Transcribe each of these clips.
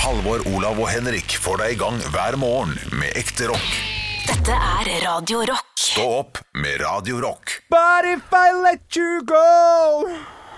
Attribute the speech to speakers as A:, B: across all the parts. A: Halvor, Olav og Henrik får deg i gang hver morgen med ekte rock.
B: Dette er Radio Rock.
A: Stå opp med Radio Rock.
C: But if I let you go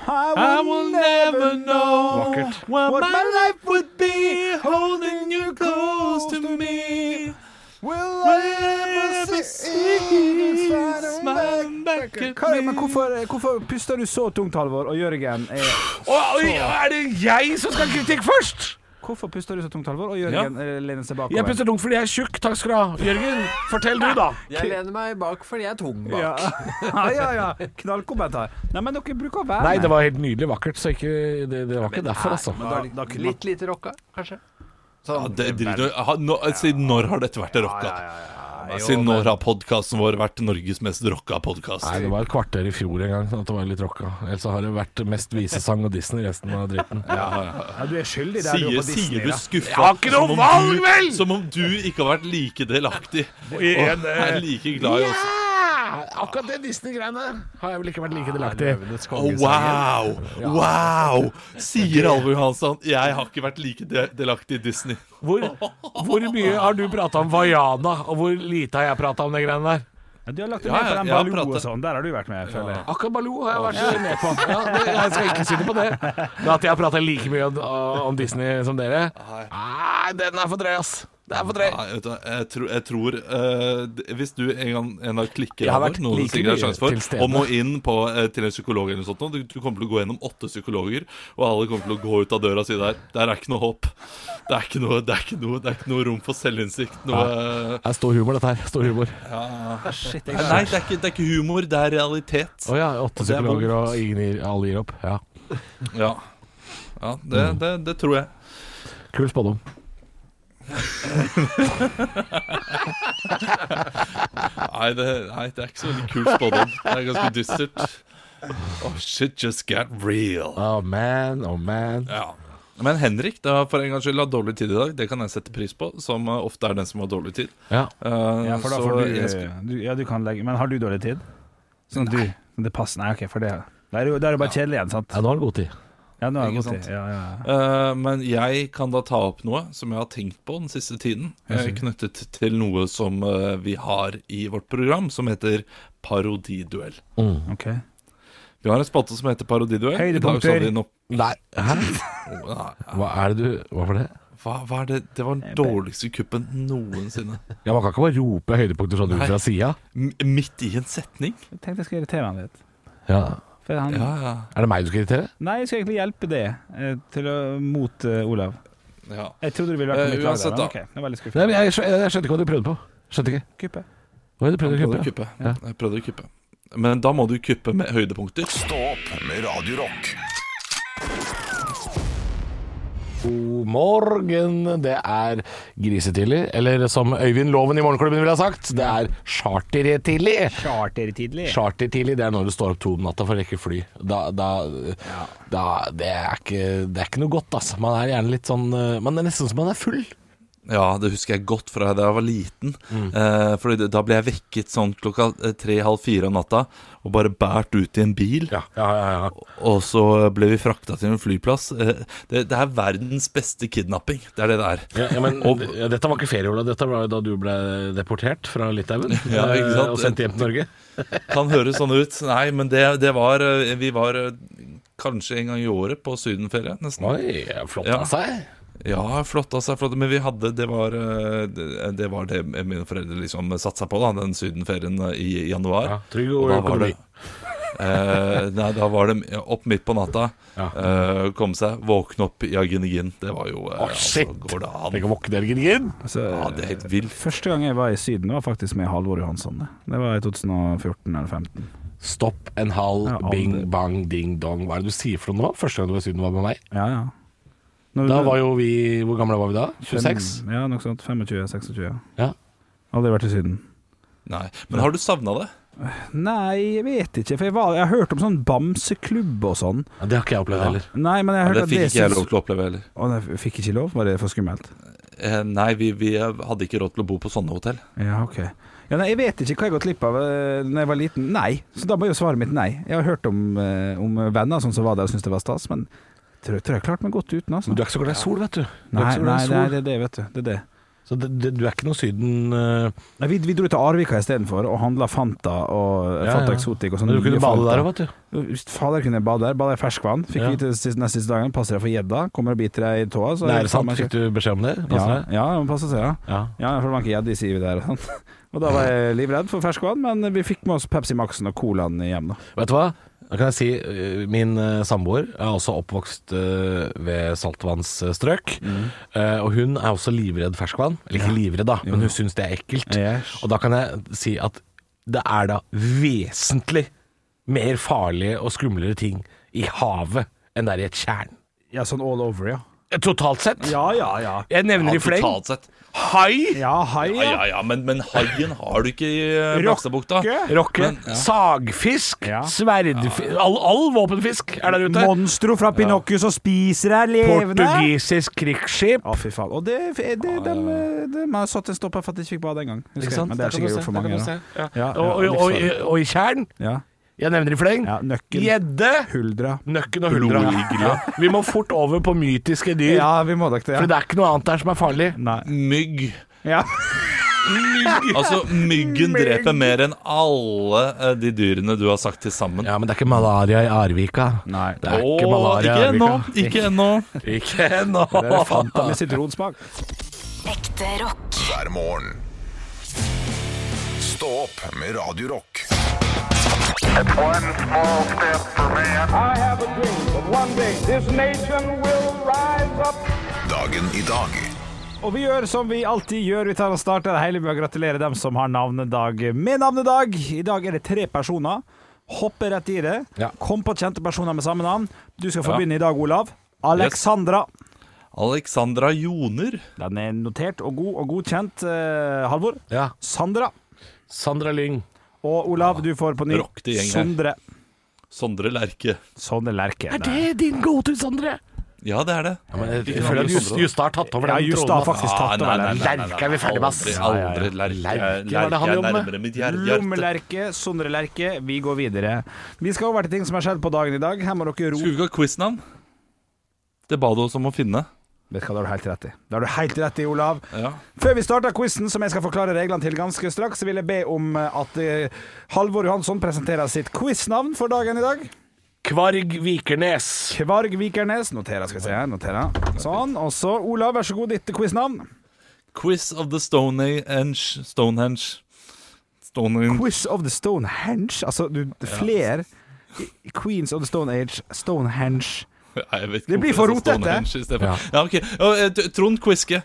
C: I will,
D: I will never know
E: Vakkert.
D: what,
C: What
D: my
C: my
D: life would be holding you close to me.
C: will
D: Whenever
C: never see
D: I see
C: you smiling
D: smiling back at
C: Kari,
D: me.
C: men hvorfor, eh, hvorfor puster du så tungt, Halvor? Og eh, Jørgen er
E: Oi, er det jeg som skal ha kritikk først?
C: Hvorfor puster du så tungt, Halvor? Og Jørgen eh, lener seg bakover.
E: Jeg puster tungt fordi jeg er tjukk. Takk skal du ha. Jørgen, fortell du, da.
F: Jeg lener meg bak fordi jeg er tung bak.
C: ja. ja, ja, ja. Knallkommentar. Nei, men dere bruker å være
E: Nei,
C: med.
E: det var helt nydelig vakkert, så ikke, det, det var ikke derfor, altså.
F: Men da, er det
C: Da kunne man-
F: litt lite rocka, kanskje? Sånn.
D: Ja, det driter du- ha- nå- Si når har dette vært rocka? Si når har podkasten vår vært Norges mest rocka podkast?
E: Nei, det var et kvarter i fjor en gang sånn at det var litt rocka. Ellers så har det vært mest visesang og Disney resten av dritten.
C: ja, du er skyldig der du
D: Sier,
C: er på Disney.
D: sier du
C: da.
E: Jeg
D: skuffa?
E: har ikke noe
D: som om
E: valg,
D: du-
E: vel!
D: Som om du ikke har vært like delaktig og
E: eh,
D: er like glad i oss.
E: Akkurat det Disney-greiene har jeg vel ikke vært like delaktig i.
D: Å, wow! Wow! Sier Alve Johansson. Jeg har ikke vært like de delaktig i Disney.
E: Hvor, hvor mye har du prata om Vaiana, og hvor lite har jeg prata om de greiene der?
C: Ja, du har lagt
D: Ja,
C: med på
D: ja,
C: den
D: jeg har
C: Baloo og
D: pratet.
C: sånn. Der har du vært med, føler jeg.
E: Akkurat Baloo har jeg vært med på. Ja, det, jeg skal ikke si det på det. Men at jeg har prata like mye om, om Disney som dere Nei, den er for drøy, ass. Det er for drøy.
D: Nei, vet du, hva, jeg tror, jeg tror eh, d- Hvis du en gang en dag klikker
E: Jeg har
D: Halvor,
E: vært
D: noe du
E: like
D: sikkert har
E: mye
D: sjanse
E: til
D: for,
E: stede.
D: og må inn på, eh, til en psykolog eller noe sånt, nå, du, du kommer til å gå gjennom åtte psykologer, og alle kommer til å gå ut av døra og si der Der er ikke noe håp. Det er ikke noe, det er ikke noe, det er ikke noe rom for selvinnsikt. Noe, eh,
E: Det er stor humor, dette her. Stor humor.
D: nei, det er, ikke, det er ikke humor, det er realitet.
E: Å ja, åtte
D: Og det er
E: psykologer og ingen gir, alle gir opp. Ja.
D: Ja, ja det,
E: Mm.
D: det, det tror jeg.
E: Kul spådom.
D: Nei, det, nei, det er ikke så veldig kul spådom. Det er ganske dystert. Oh, shit just got real.
E: Oh man, oh man.
D: Ja. Men Henrik det har for en gangs skyld hatt dårlig tid i dag. Det kan jeg sette pris på, som eh, ofte er den som har dårlig tid.
E: Ja.
D: Eh,
C: Ja, for da
D: så
C: får du,
D: jeg skal-
C: du Ja, du kan legge Men har du dårlig tid? Sånn at du Det passer Nei, OK, for det Da er det jo da er det bare kjedelig igjen, sant?
E: ja, nå har han god tid.
C: Ja, nå er det
D: Ikke
C: god tid.
D: sant?
C: Ja, ja. ja.
D: Eh, men jeg kan da ta opp noe som jeg har tenkt på den siste tiden. eh, Knyttet til noe som eh, vi har i vårt program, som heter Parodiduell.
E: Mm.
C: OK.
D: Vi har en spalte som heter Parodiduell. I dag så
C: Høydepunkter.
D: har vi en opp-
E: Nei, hæ?
D: Nei,
E: Hva er det du Hva var det?
D: Hva, hva er det? Det var den dårligste kuppen noensinne.
E: Ja, Man kan ikke bare rope høydepunkter sånn ut
D: Nei.
E: fra sida.
D: M midt i en setning?
C: Jeg tenkte jeg skulle irritere han litt.
E: Ja.
C: For han
D: Ja, ja.
E: Er det meg du skal irritere?
C: Nei, jeg skal egentlig hjelpe det eh, til å, mot eh, Olav.
D: ja.
C: Jeg trodde du ville vært på
D: Eh,
C: mitt lag. der,
D: uansett da.
C: men OK, det var litt
E: Nei, men
C: skuffende.
E: jeg, skjø- jeg skjønte ikke hva du prøvde på. Skjønte ikke.
C: Kuppe.
E: Hva er det du prøvde å
D: Prøvde å
E: kuppe?
D: kuppe.
E: Ja.
D: Jeg prøvde å kuppe. Men da må du kuppe med høydepunkter.
A: Stå opp med Radio Rock.
E: God morgen, det er grisetidlig. Eller som Øyvind Loven i Morgenklubben ville ha sagt, det er chartertidlig.
C: Chartertidlig.
E: Chartertidlig, det er når du står opp to om natta for å rekke fly. Da, da, da det, er ikke, det er ikke noe godt, altså. Man er gjerne litt sånn eh, Man er nesten som man er full.
D: Ja, det husker jeg godt fra da jeg var liten. Eh, fordi det- da ble jeg vekket sånn klokka tre-halv fire om natta og bare båret ut i en bil.
E: ja, ja.
D: Og så ble vi frakta til en flyplass. Eh, det, det er verdens beste kidnapping. Det er det det er.
E: men ja, Dette var ikke ferie, Ola. Dette var da du ble deportert fra Litauen
D: Ja,
E: eh,
D: ikke sant?
E: og sendt hjem til Norge.
D: Kan høres sånn ut. Nei, men det, det var eh, Vi var eh, kanskje en gang i året på sydenferie, nesten.
E: Oi, flott
D: Ja.
E: av seg.
D: Ja, flotta seg, flotta Men vi hadde, det var eh, det, det var det mine foreldre liksom satsa på, da, den sydenferien eh, i i januar.
E: Ja, trygg og
D: da var
E: økonomi.
D: det- Eh, nei, da var det opp midt på natta,
E: Ja.
D: eh, komme seg, våkne opp i Argenigin. Det var jo eh,
E: Å, shit!
D: Går det an?
E: Tenk å våkne, Elgen.
C: Altså,
D: Ja, det er helt vilt.
C: første gang jeg var i Syden, var faktisk med Halvor Johansson. det. Det var i 2014 eller 2015.
E: Stopp en halv,
C: Ja, aldri.
E: bing, bang, ding, dong. Hva er det du sier for noe nå? Første gang du var i Syden var med meg.
C: Ja, ja. Når-
E: Da var jo vi Hvor gamle var vi da?
C: fem-
E: 26?
C: Ja, noe sånt. 25-26.
E: Ja.
C: Aldri vært i Syden.
D: Nei. Men har du savna det?
C: Nei, jeg vet ikke. For jeg, var, jeg har hørt om sånn bamseklubb og sånn.
E: Ja, det har ikke jeg opplevd heller.
C: Nei, men jeg har hørt
D: det
C: at
D: fikk
C: det
D: ikke jeg
C: syns-
D: lov til å oppleve heller.
C: Å, nei, jeg fikk ikke lov? Var det for skummelt?
D: Eh, nei, vi, vi hadde ikke råd til å bo på sånne hotell.
C: Ja, ok. Ja, nei, jeg vet ikke hva jeg har gått glipp av eh, Når jeg var liten. Nei. Så da var jo svaret mitt nei. Jeg har hørt om, eh, om venner sånn som var der og syntes det var stas, men tror, tror jeg klarte meg godt uten, altså.
E: Men du er ikke så glad i sol, vet du. Du er
C: Nei,
E: ikke så
C: nei,
E: glad i
C: det er
E: sol.
C: det, er det, vet du. Det er det.
E: Så det, det, du er ikke noe Syden eh,
C: Nei, vi, vi dro til Arvika istedenfor og handla Fanta og eh,
E: Ja,
C: Fanta
E: ja.
C: Exotic og sånn.
E: Men Du kunne
C: nye
E: bade
C: Fanta.
E: der òg, vet du.
C: Just Fader, kunne jeg bade der. Bada i ferskvann. Fikk
E: Ja.
C: vite de siste, neste siste dagen passer jeg for gjedda. Kommer og biter deg i tåa. Så
E: Nei, er det sant? Fikk du beskjed om det?
C: ja,
E: Passer det?
C: ja, man passer seg, ja.
E: Ja.
C: ja. For det var ikke gjedde i sivet der og sånn. Og da var jeg livredd for ferskvann, men vi fikk med oss Pepsi Maxen og Colaen hjem, da.
E: Vet du hva? Da kan jeg si eh, Min eh, samboer er også oppvokst eh, ved saltvannsstrøk. Eh, Og hun er også livredd ferskvann. Eller ikke livredd, da, men hun syns det er ekkelt.
C: Yes.
E: Og da kan jeg si at det er da vesentlig mer farlige og skumlere ting i havet enn det er i et tjern.
C: Ja, sånn all over, ja.
E: Eh, Totalt sett.
C: Ja, ja, ja.
E: Jeg nevner i fleng.
D: Totalt sett.
E: Hai,
C: Ja, hei,
D: Ja,
C: ja.
D: ja, ja, men, men haien har du ikke i eh, Blakstadbukta.
C: Rokke.
E: rokke, sagfisk,
C: Ja.
E: sverdfisk all, all våpenfisk er der ute.
C: Monstro fra Pinocchio som spiser deg levende.
E: Portugisisk krigsskip.
C: Å, fy faen. Og det, det, dem, eh, det, man har satt en stopper for at jeg ikke fikk bade engang. Husker jeg. Men det er sikkert gjort for mange. Da.
E: Ja.
C: Ja, ja,
E: og, og, og, og i tjern,
C: Ja.
E: jeg nevner i fleng,
C: ja. Nøkken,
E: gjedde,
C: huldra.
E: nøkken og huldra. Ja. Vi må fort over på mytiske dyr,
C: Ja, vi må nok det.
E: for
C: Ja.
E: det er ikke noe annet der som er farlig.
C: Nei.
D: Mygg.
C: Ja.
D: Altså, myggen dreper mer enn alle eh, de dyrene du har sagt til sammen.
E: Ja, men det er ikke malaria i Arvika.
C: Nei.
E: Det er ikke
D: Åh,
E: malaria i
D: ikke ennå!
E: Arvika.
D: Ikke ennå.
E: Ikke ennå.
C: Det er Fanta med sitronsmak.
B: Ekte rock.
A: hver morgen. Stå opp med Radio Rock.
G: One small step for man. I have a dream that one day this nation will rise up.
A: Dagen i dag
C: Og vi gjør som vi alltid gjør. Vi tar og starter det hele med å gratulere dem som har navnedag med navnedag. I dag er det tre personer. Hoppe rett i det.
E: Ja.
C: Kom på kjente personer med samme navn. Du skal få begynne i dag, Olav. Alexandra.
D: Alexandra Joner.
C: Den er notert og god og godkjent. Eh, Halvor.
E: Ja.
C: Sandra.
E: Sandra Lyng.
C: Og Olav, du får på ny
D: Rock det gjeng her.
C: Sondre.
D: Sondre Lerche.
C: Sondre Lerche.
E: det din go to, Sondre?
D: Ja, det er det.
E: Ja, men jeg,
D: Ikke
E: jeg føler
D: navnet
E: at Just-
D: Sondre, da.
E: Justa har tatt over
C: Ja,
E: den
C: Justa har
E: tråden.
C: faktisk tatt
D: Ah, nei,
C: over
D: nei,
C: den.
D: nei, nei, nei.
E: Lerche er vi ferdig med, ass.
D: Aldri, aldri Lerche.
E: Lerche, hva er det
D: Lerche
E: han
D: er
E: jobber med?
D: nærmere mitt hjerte.
C: Lommelerke, Sondre Lerche. Vi går videre. Vi skal over til ting som har skjedd på dagen i dag. Her må dere ro
D: Skulle vi ikke ha quiznavn? Det ba du oss om å finne.
C: Vet du hva, Det har du helt rett i. Det har du helt rett i, Olav.
D: Ja.
C: Før vi starter quizen, som jeg skal forklare reglene til ganske straks, så vil jeg be om at eh, Halvor Johansson presenterer sitt quiznavn for dagen i dag.
E: Kvarg Vikernes.
C: Kvarg Vikernes. Noterer, skal vi se her. Noterer. Sånn. Og så, Olav, vær så god, ditt quiznavn.
D: Quiz of the Stonehenge Stonehenge Stonehenge
C: Quiz of the Stonehenge. Altså, du, flere Queens of the Stone Age, Stonehenge.
D: Nei, jeg vet ikke
C: Det blir
D: hvorfor
C: for
D: jeg sa
C: rotete.
D: Stonehenge i stedet for. Ja, ok Og, eh, T- Trond Quiske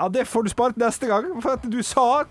C: Ja, det får du spart neste gang, for at du sa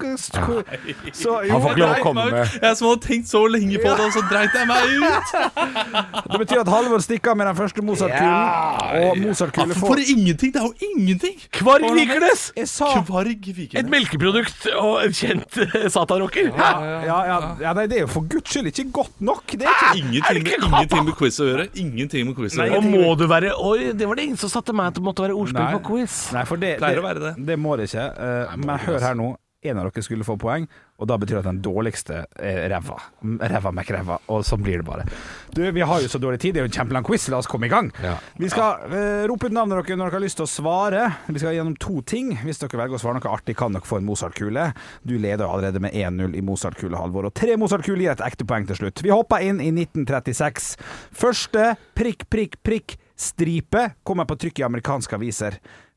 C: så, jo,
E: Han får ikke lov å
C: nei,
E: komme med
D: Jeg som hadde tenkt så lenge på det Og så dreit jeg meg ut
C: Det betyr at Halvor stikker av med den første Mozart-kulen, og
D: Ja,
C: Mozart-kule
D: for, for
C: får
D: ingenting, det er jo ingenting
E: Kvarg Vikernes!
C: Jeg sa
D: Kvarg
E: Et
D: Vikernes
E: melkeprodukt og en kjent eh, satanrocker. Ja.
C: ja, ja, ja, nei, det er jo for guds skyld ikke godt nok. Det er ikke
D: Ingenting med, ingenting med quiz å gjøre Ingenting med quiz å
E: Og
D: gjøre
E: må du være Oi, det var det ingen som satte meg til å måtte være ordspill
C: Nei.
E: på quiz.
C: Nei, for det,
D: Pleier å være det.
C: Det må det ikke. eh, men hør her nå. En av dere skulle få poeng, og da betyr det at den dårligste er ræva. M- Ræva mekk ræva, og sånn blir det bare. Du, vi har jo så dårlig tid, det er jo en kjempelang quiz, la oss komme i gang.
E: Ja.
C: Vi skal eh, rope ut navnet dere når dere har lyst til å svare. Vi skal gjennom to ting. Hvis dere velger å svare noe artig, kan dere få en Mozart-kule. Du leder jo allerede med 1-0 i Mozart-kule, Halvor, og tre Mozart-kuler gir et ekte poeng til slutt. Vi hopper inn i 1936. Første prikk, prikk, prikk. Stripe kommer på trykk i amerikanske aviser.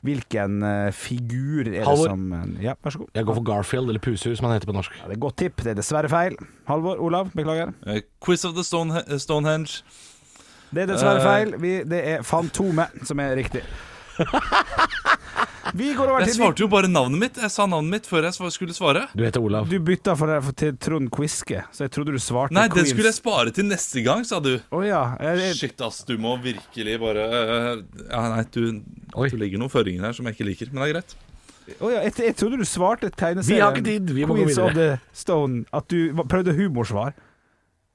C: Hvilken eh, figur er
E: Halvor.
C: det som eh, Ja, vær så god.
E: Jeg går for Garfield, eller Pusehus som han heter på norsk.
C: Ja, det er godt tipp. Det er dessverre feil. Halvor, Olav, beklager.
D: Eh, Quiz of the Stone, eh, Stonehenge
C: Det er dessverre
D: Eh.
C: feil. Vi, det er Fantomet som er riktig. Vi går over
D: Jeg
C: til
D: svarte jo bare navnet mitt Jeg sa navnet mitt før jeg sva- skulle svare
E: Du heter Olav.
C: Du bytta for, for, til Trond Quiske, så jeg trodde du svarte
D: Nei, det
C: Queens.
D: skulle jeg spare til neste gang, sa du
C: Å ja. Jeg, jeg,
D: Shit, ass, du må virkelig bare øh, Ja, nei, du,
E: Oi.
D: du legger noen føringer her som jeg ikke liker, men det er greit.
C: å ja, jeg, jeg trodde du svarte tegneserien
E: Vi har ikke tid, vi må gå
C: Queens of
E: videre.
C: the Stone. At du var- prøvde humorsvar.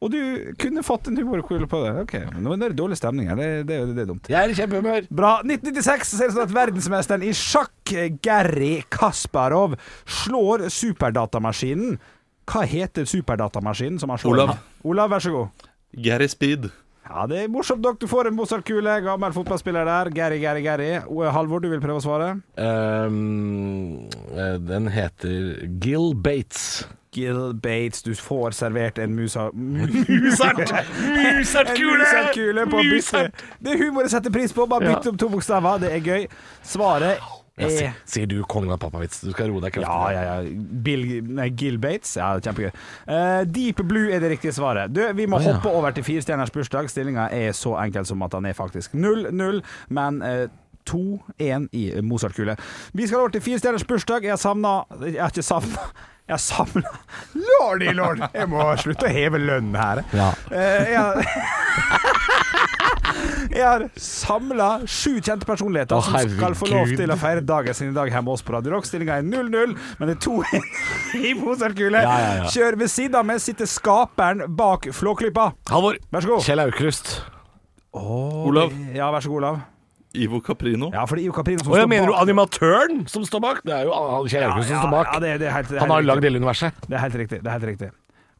C: Og du kunne fått en humorkule på det. Ok, Nå er det dårlig stemning her. Det, det, det er dumt.
E: Jeg er i kjempehumør.
C: Bra. 1996 så ser det sånn at verdensmesteren i sjakk, Gary Kasparov, slår superdatamaskinen. Hva heter superdatamaskinen som han slår?
D: Olav.
C: Olav, vær så god.
D: Gary Speed.
C: Ja, det er morsomt nok. Du får en Mozart-kule. Gammel fotballspiller der. Gary, Gary, Gary. Og Halvor, du vil prøve å svare?
E: Ehm, eh, den heter Gil Bates.
C: Gil Bates, du får servert en musa... Musart!
H: Musart-kule!
C: Musart-kule på å bytte.
H: Musart!
C: Det er humor jeg setter pris på. Bare bytte opp to bokstaver. Det er gøy. Svaret
E: Ja, si-
C: er
E: sier du kongen av pappavits. Du skal roe deg kraftig.
C: E. Ja, ja, ja. Bill, nei, Gil Bates. Ja, det er kjempegøy. Eh, Deep Blue er det riktige svaret. Du, vi må
E: ja.
C: hoppe over til firestjerners bursdag. Stillinga er så enkel som at han er faktisk 0-0, men eh, 2-1 i Mozart-kule. Vi skal over til firestjerners bursdag. Jeg savna Jeg har ikke savna jeg savna Lordy lord! Jeg må slutte å heve lønnen her.
E: Ja.
C: Eh, jeg har- jeg har samla sju kjente personligheter
E: Å,
C: som skal få lov
E: herregud.
C: til å feire dagen sin i dag hjemme hos oss på Radio Rock. Stillinga er 0-0, men det er 2-1 i Mozart-kule.
E: Ja, ja, ja.
C: Kjør ved siden av meg sitter skaperen bak Flåklypa.
E: Halvor.
C: Vær så god.
E: Kjell Aukrust.
D: Olav,
C: Ja, vær så god, Olav.
D: Ivo Caprino.
C: Ja, for det er jo Caprino som
E: Å ja,
C: står
E: mener du
C: bak.
E: animatøren som står bak? Det er jo han- Kjell Aukrust som står bak.
C: Ja, det, er- det er helt, det er
E: han har
C: helt
E: jo lagd
C: riktig.
E: hele universet.
C: Det er helt riktig. Det er helt riktig.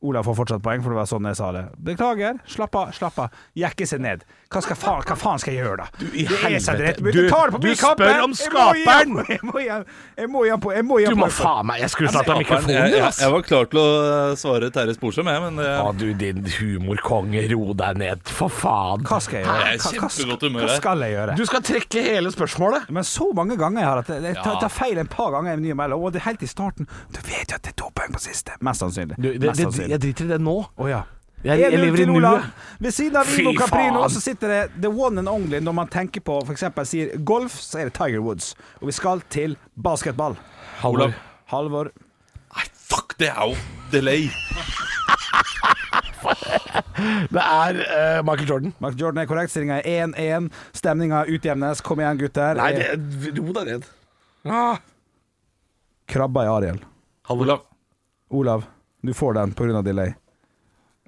C: Olav får fortsatt poeng, for det var sånn jeg sa det. Beklager. Slapp av. slapp av Jekke seg ned. Hva, skal faen, hva faen skal jeg gjøre, da? Du,
E: i helvete.
C: Du,
E: Du-
C: tar det på
E: du
C: blikkappen. Jeg
E: spør om
C: må gi ham-
E: skaperen.
C: Jeg må gi ham- jeg må gi ham på- jeg må gi ham
E: Du må
C: poeng for-
E: faen meg Jeg skulle snart ha
D: Skaperen, jeg,
E: mikrofonen din,
D: jeg,
E: ass.
D: jeg var klar til å eh, svare Terje Sporsem, jeg, men eh,
E: Å, du din humorkonge, ro deg ned, for faen.
C: Hva skal jeg gjøre?
D: Jeg er i
C: Hva- hva-
D: kjempegodt humør
C: Hva
D: her.
C: skal jeg gjøre?
E: Du skal trekke hele spørsmålet.
C: Men så mange ganger jeg har at jeg, jeg tar, tar feil en par ganger i ny og mellom. Og det er helt i starten. Du vet jo at det er to poeng på siste. Mest sannsynlig.
E: Du, det,
C: Mest
E: det,
C: sannsynlig.
E: jeg driter i det nå.
C: Å ja.
E: Jeg, jeg
C: 1-0
E: lever i
C: til Olav.
E: nuet.
C: Ved siden av
E: Fy
C: Ivo Caprino
E: faen.
C: så sitter det the one and only når man tenker på f.eks. sier golf, så er det Tiger Woods. Og vi skal til basketball.
E: Olav.
D: Olav.
C: Halvor.
D: Nei, fuck, det er jo delay.
E: Det er eh, Michael Jordan.
C: Mark Jordan er korrekt. Stillinga er 1-1. Stemninga utjevnes. Kom igjen, gutter.
E: Ro deg ned.
C: Krabba i Ariel.
D: Olav.
C: Olav, du får den pga. delay.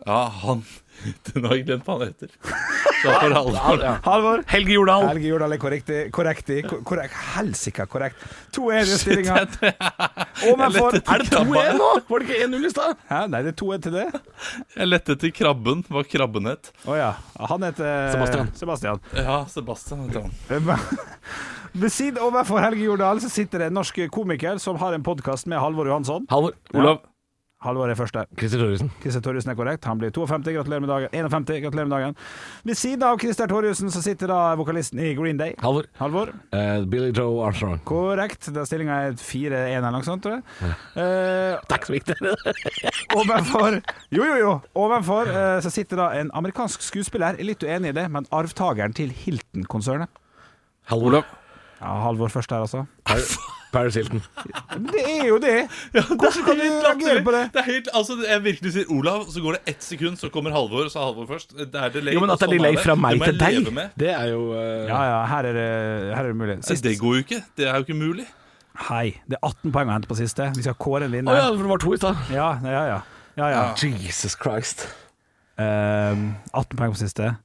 D: Ja, han Den har jeg glemt hva han heter. Så for alvor.
C: Halvor.
E: Helge Jordal.
C: Helge Jordal er korrekt. korrekt, i- ko- korrekt Helsika korrekt. 2-1 i stillinga. Ovenfor
E: Er det 2-1 nå? Var det ikke 1-0 i stad?
C: Hæ, nei, det er 2-1 til det.
D: Jeg lette til Krabben. Hva krabben het.
C: Å ja. Han heter
E: Sebastian.
C: Sebastian.
D: Ja, Sebastian het han.
C: Ved siden overfor Helge Jordal så sitter det en norsk komiker som har en podkast med Halvor Johansson.
E: Halvor.
D: Olav.
C: Halvor er første.
E: Christer Thoresen.
C: Christer Torjussen er korrekt. Han blir 52. Gratulerer med dagen. 51. Gratulerer med dagen. Ved siden av Christer Torjussen så sitter da vokalisten i Green Day.
E: Halvor.
C: Halvor.
E: Eh, Billy Joe Armstrong.
C: Korrekt. Da Stillinga er 4-1 eller noe sånt, tror jeg. Eh,
E: Det er ikke så viktig.
C: Ovenfor Jo, jo, jo. Ovenfor eh, så sitter da en amerikansk skuespiller. Jeg er Litt uenig i det, men arvtakeren til Hilton-konsernet.
E: Halvor.
C: Ja, Halvor først her, altså.
E: Paris Hilton.
C: Men Det er jo det! Hvordan kan du reagere på det?
D: Det er helt, altså, jeg virkelig sier Olav, så går det ett sekund, så kommer Halvor, så er Halvor først. Det er delay.
E: Jo, men at det
D: og
E: er
D: sånn
E: delay fra
D: Det
E: meg
D: må
E: til
D: jeg
E: deg,
D: leve med.
E: det er jo eh,
C: Ja, ja, her er det, her er det mulig. Sist.
D: Det går jo ikke. Det er jo ikke mulig.
C: Hei. Det er 18 poeng å hente på siste. Vi skal kåre en
E: Å ja,
C: vinner.
E: for det var to i stad.
C: Ja, ja, ja. ja, ja.
E: Jesus Christ.
C: Ehm, 18 poeng på siste.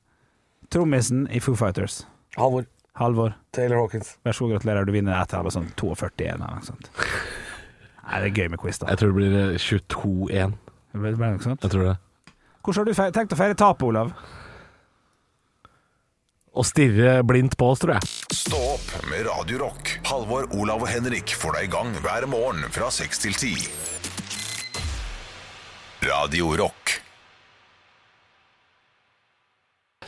C: Trommisen i Foo Fighters.
E: Halvor.
C: Halvor,
E: Taylor Hawkins.
C: vær så god, gratulerer. Du vinner etter sånn 42-1 eller noe sånt. Nei, det er gøy med quiz, da.
E: Jeg tror det blir eh, 22-1.
C: Det ble- det ble noe sånt.
E: Jeg tror det.
C: Hvordan har du fe- tenkt å feire tapet, Olav?
E: Å stirre blindt på oss, tror jeg.
A: Stå opp med Radio Rock. Halvor, Olav og Henrik får deg i gang hver morgen fra 6 til 10. Radio Rock.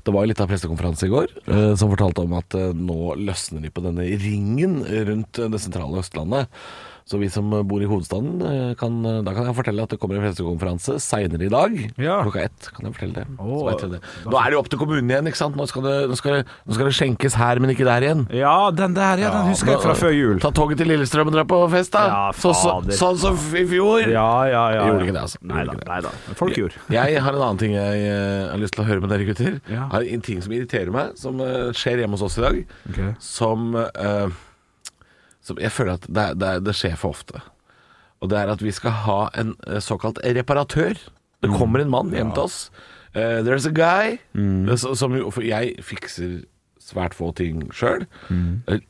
E: Det var jo litt av pressekonferanse i går eh, som fortalte om at eh, nå løsner de på denne ringen rundt eh, det sentrale Østlandet. Så vi som eh, bor i hovedstaden, eh, kan, eh, da kan jeg fortelle at det kommer en pressekonferanse seinere i dag.
C: Ja.
E: Klokka ett, kan jeg fortelle det. Så vet jeg det. Nå er det jo opp til kommunen igjen, ikke sant. Nå skal, det, nå, skal det, nå skal det skjenkes her, men ikke der igjen.
C: Ja, den der, ja. Den husker jeg fra før jul.
E: Ta toget til Lillestrøm og dra på fest, da.
C: Ja,
E: Så- så-
C: fader.
E: sånn som i fjor.
C: Ja, ja, ja.
E: Gjorde ikke det, altså.
C: Nei
E: Gjorde
C: da.
E: ikke det.
C: Nei da. Men Folk gjorde.
E: Jeg har en annen ting jeg eh, har lyst til å høre med dere gutter.
C: Ja.
E: Har en ting som irriterer meg, som eh, skjer hjemme hos oss i dag.
C: Ok.
E: Som, eh, som jeg føler at det, er- det, er- det skjer for ofte. Og det er at vi skal ha en eh, såkalt reparatør. Det kommer en mann hjem til oss. Eh, there's a guy. Det er så- Som jo, for jeg fikser svært få ting sjøl.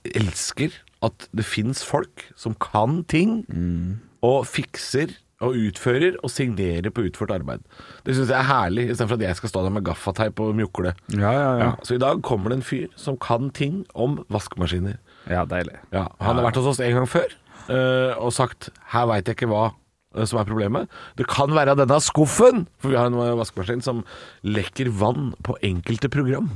E: Elsker at det fins folk som kan ting og fikser og utfører og signerer på utført arbeid. Det syns jeg er herlig, istedenfor at jeg skal stå der med gaffateip og mjukle.
C: Ja, ja, ja.
E: Så i dag kommer det en fyr som kan ting om vaskemaskiner.
C: Ja, deilig.
E: Ja, han har vært hos oss en gang før eh, og sagt 'her veit jeg ikke hva eh, som er problemet'. Det kan være denne skuffen, for vi har en eh, vaskemaskin som lekker vann på enkelte program.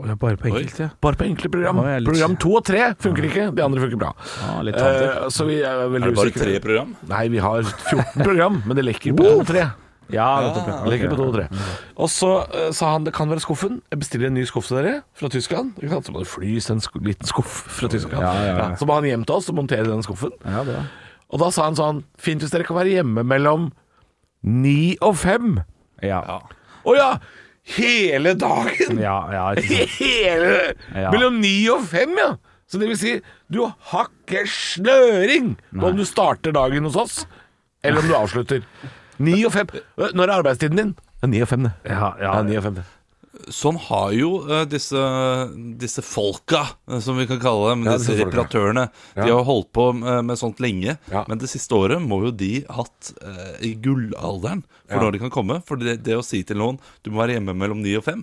C: bare på
D: enkelt,
C: ja.
E: Bare på enkelte program.
C: Nå er jeg litt-
E: Program to og tre funker ikke, de andre funker bra.
C: Ja, litt tanter.
E: Eh, så vi er veldig
D: Er det bare
E: usikre.
D: tre program?
E: Nei, vi har 14 program, men det lekker på to og tre.
C: nettopp, ja.
E: Det lekker på to og tre. Mm. Og så eh, sa han det kan være skuffen. Jeg bestiller en ny skuff til dere fra Tyskland. Ikke sant? Så må det flys en sk liten skuff fra Tyskland.
C: Ja, ja, ja.
E: så må han hjem til oss og montere den skuffen.
C: Ja, bra.
E: Og da sa han sånn Fint hvis dere kan være hjemme mellom ni og fem.
C: Ja,
E: Å ja! Hele dagen!
C: ja, ja, ikke sant.
E: Hele
C: Ja.
E: Mellom ni og fem, ja! Så det vil si, du har ikke snøring på om du starter dagen hos oss, eller om du avslutter. Ni og fem. Øh, Når er arbeidstiden din? Det er ni og fem, det.
C: Ja, ja.
E: ni og fem, det.
D: Sånn har jo eh, disse, disse folka, eh, som vi kan kalle dem,
E: Ja,
D: disse
E: disse folka.
D: reparatørene. De har jo holdt på eh, med, med sånt lenge,
E: Ja.
D: men det siste året må jo de hatt eh, i gullalderen for når de kan komme. For det, det å si til noen du må være hjemme mellom ni og fem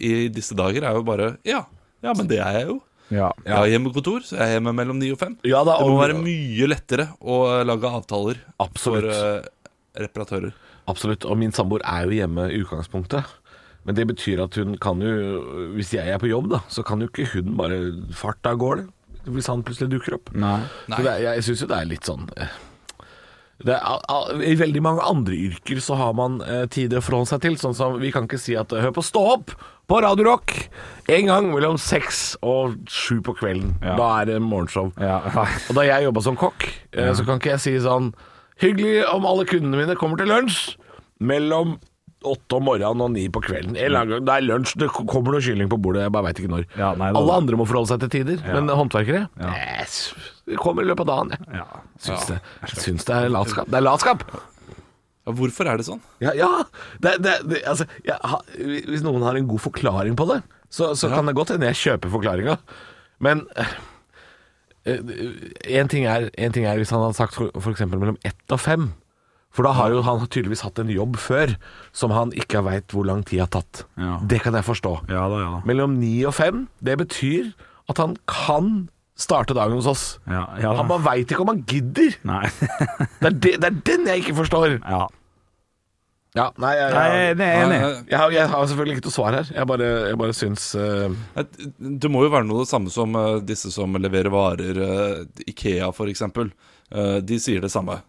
D: i disse dager, er jo bare Ja, ja men det er jeg jo.
C: Ja.
D: Jeg har hjemmekontor, så jeg er hjemme mellom ni og fem.
E: Ja, da,
D: det må
E: og-
D: være mye lettere å eh, lage avtaler
E: Absolutt.
D: for eh, reparatører.
E: Absolutt. Og min samboer er jo hjemme i utgangspunktet. Men det betyr at hun kan jo Hvis jeg er på jobb, da, så kan jo ikke hun bare farte av gårde. Hvis han plutselig dukker opp.
C: Nei.
E: Så det, er- jeg syns jo det er litt sånn eh, det er, al- al- I veldig mange andre yrker så har man eh, tider å forholde seg til. Sånn som vi kan ikke si at eh, Hør på Stå opp på Radio Rock en gang mellom seks og sju på kvelden.
C: Ja.
E: Da er det morgenshow.
C: Ja,
E: Og da jeg jobba som kokk, eh, så kan ikke jeg si sånn Hyggelig om alle kundene mine kommer til lunsj mellom åtte om morgenen og ni på kvelden. En eller annen gang, det er lunsj, det kommer noe kylling på bordet, jeg bare veit ikke når.
C: Ja, nei, det-
E: alle andre må forholde seg til tider, men håndverkere yes, Det kommer i løpet av dagen, jeg.
C: ja.
E: Syns, det, jeg syns det er latskap. Det er latskap!
D: Ja, hvorfor er det sånn?
E: Ja, ja. Det, det, det, altså, jeg, ha, hvis noen har en god forklaring på det, så, så kan det godt hende jeg kjøper forklaringa. Men én ting, er- en ting er hvis han hadde sagt f.eks. mellom ett og fem. For da har jo han tydeligvis hatt en jobb før som han ikke veit hvor lang tid har tatt.
C: Ja.
E: Det kan jeg forstå.
C: Ja da, ja da.
E: Mellom ni og fem, det betyr at han kan starte dagen hos oss.
C: Ja, ja da.
E: Han bare veit ikke om han gidder.
C: Nei.
E: Det er, det, det er den jeg ikke forstår.
C: Ja.
E: Ja, nei, jeg,
C: Nei, jeg er enig.
D: Nei,
E: Jeg har, jeg har selvfølgelig ikke noe svar her. Jeg bare, jeg bare syns eh,
D: Nei, Det må jo være noe av det samme som eh, disse som leverer varer, eh, Ikea f.eks. De sier det samme.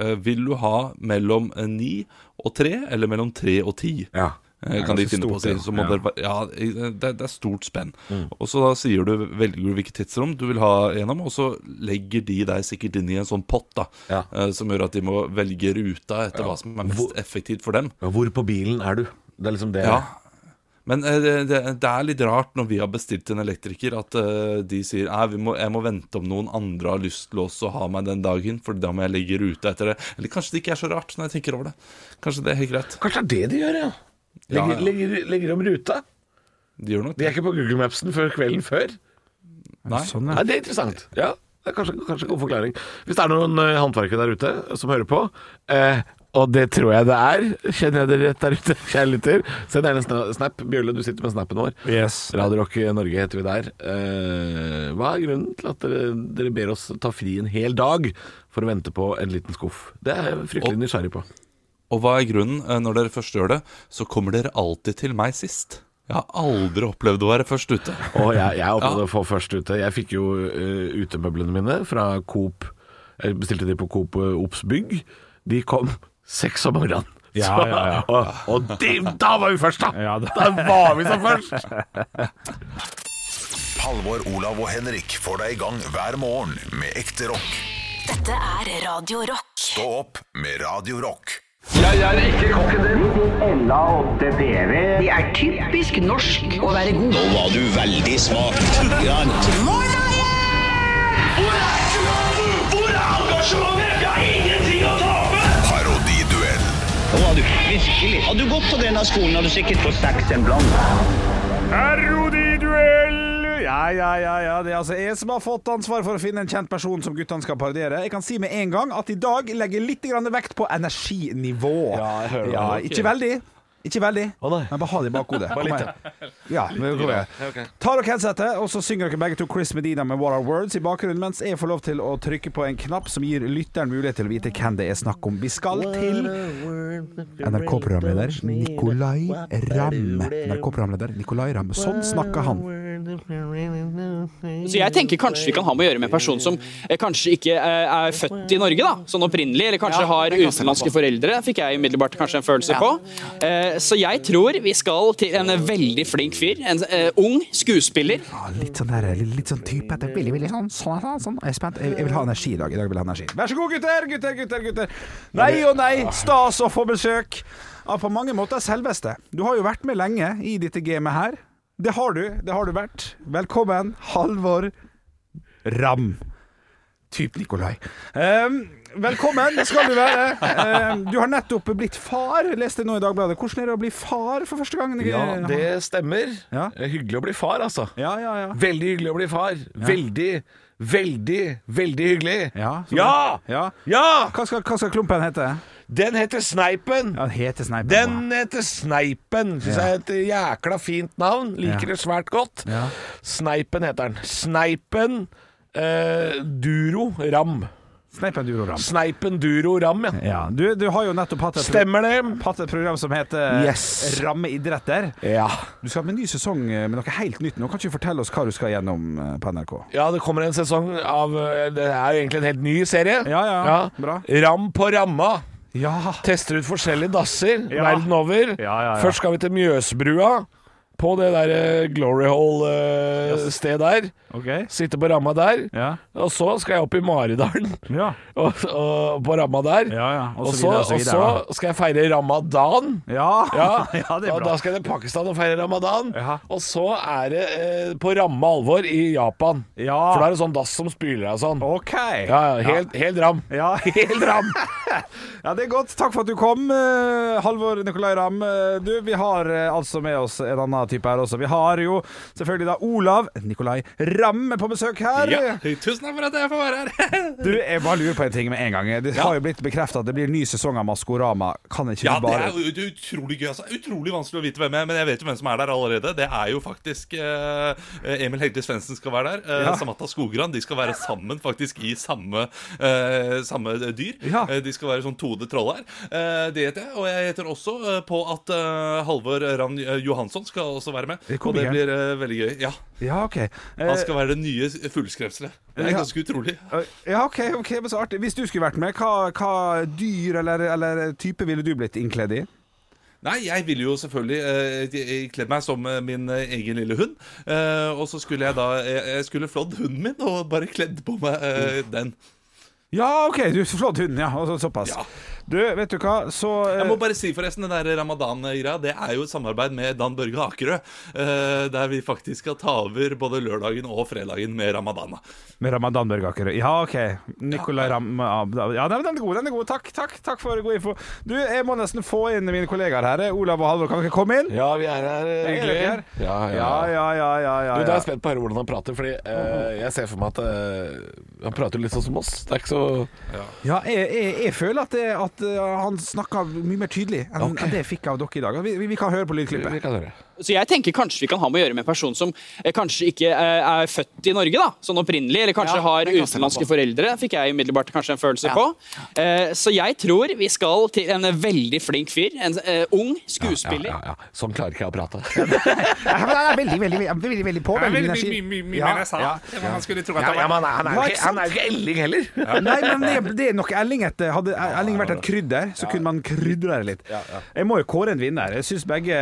D: Eh, Vil du ha mellom eh, ni og tre, eller mellom tre og ti?
E: Ja.
D: Eh, Kan de
C: ganske
D: finne på å si.
C: stort,
D: Så må
C: ja. Mm.
D: dere være- ja, i- det, er- det er stort spenn. Og så da sier du, velger du hvilket tidsrom du vil ha gjennom, og så legger de deg sikkert inn i en sånn pott da,
E: Ja.
D: eh, som gjør at de må velge ruta etter hva som er mest effektivt for dem.
E: Hvor på bilen er du? Det er liksom det.
D: Ja. Men eh, det, det, det er litt rart når vi har bestilt en elektriker, at eh, de sier Nei, vi må, jeg må vente om noen andre har lyst til også å ha meg den dagen, for da må jeg legge ruta etter det. Eller kanskje det ikke er så rart, når jeg tenker over det. Kanskje det er helt greit.
E: Kanskje det er det de gjør, ja.
D: Ja,
E: Legger,
D: ja.
E: Legger, legger om ruta.
D: De gjør nok
E: De
D: det.
E: er ikke på Google Mapsen før kvelden før.
D: Nei.
C: Sånn,
E: Nei,
C: ja.
E: Det er interessant. Ja, det er kanskje, kanskje en god forklaring. Hvis det er noen eh, håndverkere der ute som hører på, eh, og det tror jeg det er, kjenner jeg dere rett der ute, kjære lytter, send gjerne en sna- snap. Bjørle, du sitter med snappen vår.
C: Yes.
E: Radio Rock Norge heter vi der. Eh, hva er grunnen til at dere, dere ber oss ta fri en hel dag for å vente på en liten skuff? Det er jeg fryktelig nysgjerrig på.
D: Og hva er grunnen? Eh, Når dere først gjør det, så kommer dere alltid til meg sist. Jeg har aldri opplevd å være først ute.
E: Og jeg, jeg opplevde å få først ute. Jeg fikk jo eh, utemøblene mine fra Coop. Jeg bestilte de på Coop eh, Ops bygg. De kom seks om morgenen.
C: Ja,
E: Så-
C: ja, ja.
E: Og, og de, da var vi først, da!
C: Ja, da-
E: da var vi så først!
A: Halvor, Olav og Henrik får deg i gang hver morgen med ekte rock.
B: Dette er Radio Rock.
A: Stå opp med Radio Rock.
I: Det er typisk norsk å være god.
J: Nå var du veldig smak. Hvor er engasjementet? Hvor er engasjementet? Jeg har ingenting å tape!
A: Parodiduell.
J: Nå var du virkelig. Hadde du gått på denne skolen, hadde du sikkert fått seks en blant.
G: Parodiduell!
C: Ja, ja, ja, ja. Det er altså jeg som har fått ansvar for å finne en kjent person som guttene skal parodiere. Jeg kan si med en gang at i dag legger jeg litt grann vekt på energinivå.
E: Ja, jeg hører det.
C: Ja,
E: Ok.
C: Ikke veldig. Ikke veldig,
E: Å, nei.
C: men bare ha det i bakhodet.
E: Bare
C: Kom
E: litt,
C: her. Ja, vi går videre. Tar dere headsetet, og så synger dere begge to Chris Medina med What Are Words i bakgrunnen, mens jeg får lov til å trykke på en knapp som gir lytteren mulighet til å vite hvem det er snakk om. Vi skal til NRK-programleder Nicolai Ramme. NRK-programleder Nicolai Ramme. Sånn snakker han.
K: Så jeg tenker kanskje vi kan ha med å gjøre med en person som eh, kanskje ikke eh, er født i Norge, da, sånn opprinnelig, eller kanskje har utenlandske foreldre. Fikk jeg umiddelbart kanskje en følelse på. Eh, Så jeg tror vi skal til en eh, veldig flink fyr. En eh, ung skuespiller.
C: Ja, litt sånn der, litt, litt sånn type etter veldig, veldig sånn, sånn, sånn, sånn. Jeg er spent. Jeg, jeg vil ha energi i dag. I dag vil jeg ha energi. Vær så god, gutter, gutter, gutter, gutter. Nei og nei, stas å få besøk av på mange måter selveste. Du har jo vært med lenge i dette gamet her. Det har du, det har du vært. Velkommen, Halvor Ram. Typ Nikolai. Ehm, velkommen skal du være. Ehm, du har nettopp blitt far, leste jeg nå i Dagbladet. Hvordan er det å bli far for første gang?
E: Ja, det stemmer. Eh, Hyggelig å bli far, altså.
C: Ja, ja, ja.
E: Veldig hyggelig å bli far. Veldig, veldig, veldig hyggelig.
C: Ja!
E: Ja!
C: ja. Hva, skal, hva skal klumpen hete?
E: Den heter Sneipen.
C: Ja, den heter Sneipen.
E: Den heter Sneipen. Syns jeg er et jækla fint navn. Liker
C: Ja.
E: det svært godt.
C: Ja.
E: Sneipen heter den. Sneipen eh, Duro Ram.
C: Sneipen Duro Ram.
E: Sneipen Duro Ram, ja.
C: Ja, du, du har jo nettopp hatt et, pro-
E: Stemmer det?
C: hatt et program som heter
E: Yes.
C: Ramme idretter.
E: Ja.
C: Du skal med en ny sesong eh, med noe helt nytt. Nå kan ikke du fortelle oss hva du skal gjennom eh, på NRK.
E: Ja, det kommer en sesong av eh, Det er jo egentlig en helt ny serie.
C: Ja, ja, bra.
E: Ram på ramma.
C: Ja,
E: Tester ut forskjellige dasser
C: Ja.
E: verden over.
C: Ja, ja, ja.
E: Først skal vi til Mjøsbrua. På det der eh, Glory Hall-stedet der.
C: ok.
E: Sitte på ramma der.
C: Ja,
E: Og så skal jeg opp i Maridalen
C: ja,
E: og, og på ramma der.
C: ja. ja.
E: Og så, og så skal jeg feire ramadan.
C: Ja. Ja.
E: Ja,
C: det er
E: og Da
C: bra.
E: skal jeg til Pakistan og feire ramadan.
C: Ja.
E: Og så er det eh, på ramme alvor i Japan.
C: Ja.
E: For da er det sånn dass som spyler deg og sånn.
C: OK.
E: Ja, ja, helt, helt ram.
C: Ja.
E: Helt ram!
C: Ja, det er godt. Takk for at du kom, eh, Halvor Nicolai Ramm. Eh, Du, vi har eh, altså med oss en annen type her også. Vi har jo selvfølgelig da Olav Nicolai Ramm på besøk her.
D: Ja, tusen takk for at jeg får være her.
C: Du, jeg bare lurer på en ting med en gang. Det har jo blitt bekrefta at det blir ny sesong av Maskorama. Kan ikke
D: Ja,
C: du
D: det
C: bare
D: er jo ut- utrolig gøy. Altså. Utrolig vanskelig å vite hvem jeg er, men jeg vet jo hvem som er der allerede. Det er jo faktisk eh, Emil Hegde Svendsen skal være der. eh,
C: Ja.
D: Samantha Skogran. De skal være sammen faktisk i samme, eh, samme dyr.
C: Ja.
D: Eh, de skal være sånn toede troll her. Eh, det heter jeg. Og jeg heter også eh, på at eh, Halvor Ravn eh, Johansson skal også være med.
C: Det er
D: Og det
C: komikeren.
D: blir eh, veldig gøy. Ja,
C: Ja, OK.
D: Han
C: Eh,
D: skal være det nye fugleskremselet. Det
C: ja.
D: er ganske utrolig.
C: ja, ok, ok, men så artig. Hvis du skulle vært med, hva, hva dyr eller, eller type ville du blitt innkledd i?
D: Nei, jeg ville jo selvfølgelig eh, jeg- jeg kledd meg som eh, min eh, egen lille hund. Eh, og så skulle jeg da Jeg, jeg skulle flådd hunden min og bare kledd på meg eh, den.
C: Ja, OK, du flådd hunden, ja. og så- Såpass.
D: Ja.
C: Du, vet du hva, så
D: Jeg
C: eh,
D: må bare si forresten, den der ramadan-greia Det er jo et samarbeid med Dan Børge Akerø. eh, der vi faktisk skal ta over både lørdagen og fredagen med ramadan.
C: Med Ramadan Børge Akerø. Ja, OK. Nicolai Ram... Ja, den den er god. den er god Takk takk, takk for god info. Du, jeg må nesten få inn mine kollegaer her. eh. Olav og Halvor, kan dere komme inn?
E: Ja, vi er her, eh,
C: Er dere her?
E: hyggelig. Ja,
C: ja, ja, ja, ja, ja. Mhm.
E: Du, da er jeg spent på å høre hvordan han prater, Fordi eh, jeg ser for meg at eh, han prater litt sånn som oss. Det er ikke så
C: Ja, jeg, jeg, jeg føler at, det, at uh, han snakka mye mer tydelig enn enn det jeg fikk av dere i dag. Vi, vi, vi kan høre på lydklippet.
E: Vi kan høre.
K: Så jeg tenker kanskje vi kan ha med å gjøre med en person som eh, kanskje ikke eh, er født i Norge, da, sånn opprinnelig, eller kanskje har utenlandske foreldre. Fikk jeg umiddelbart kanskje en følelse på. Eh, Så jeg tror vi skal til en eh, veldig flink fyr. En eh, ung skuespiller.
E: Ja, ja. Sånn klarer ikke jeg å prate.
C: Ja, men han er veldig, veldig, veldig, veldig, veldig på. Veldig energi. Ja, ja.
E: Ja, ja, men han er- han er
C: Ja,
E: jo
C: ikke
E: ikke, han er jo ikke Elling heller.
C: Nei, men det, det er nok Elling etter. Hadde E- Elling vært et krydder, så kunne man krydre det litt. Jeg må jo kåre en vinner. Jeg syns begge,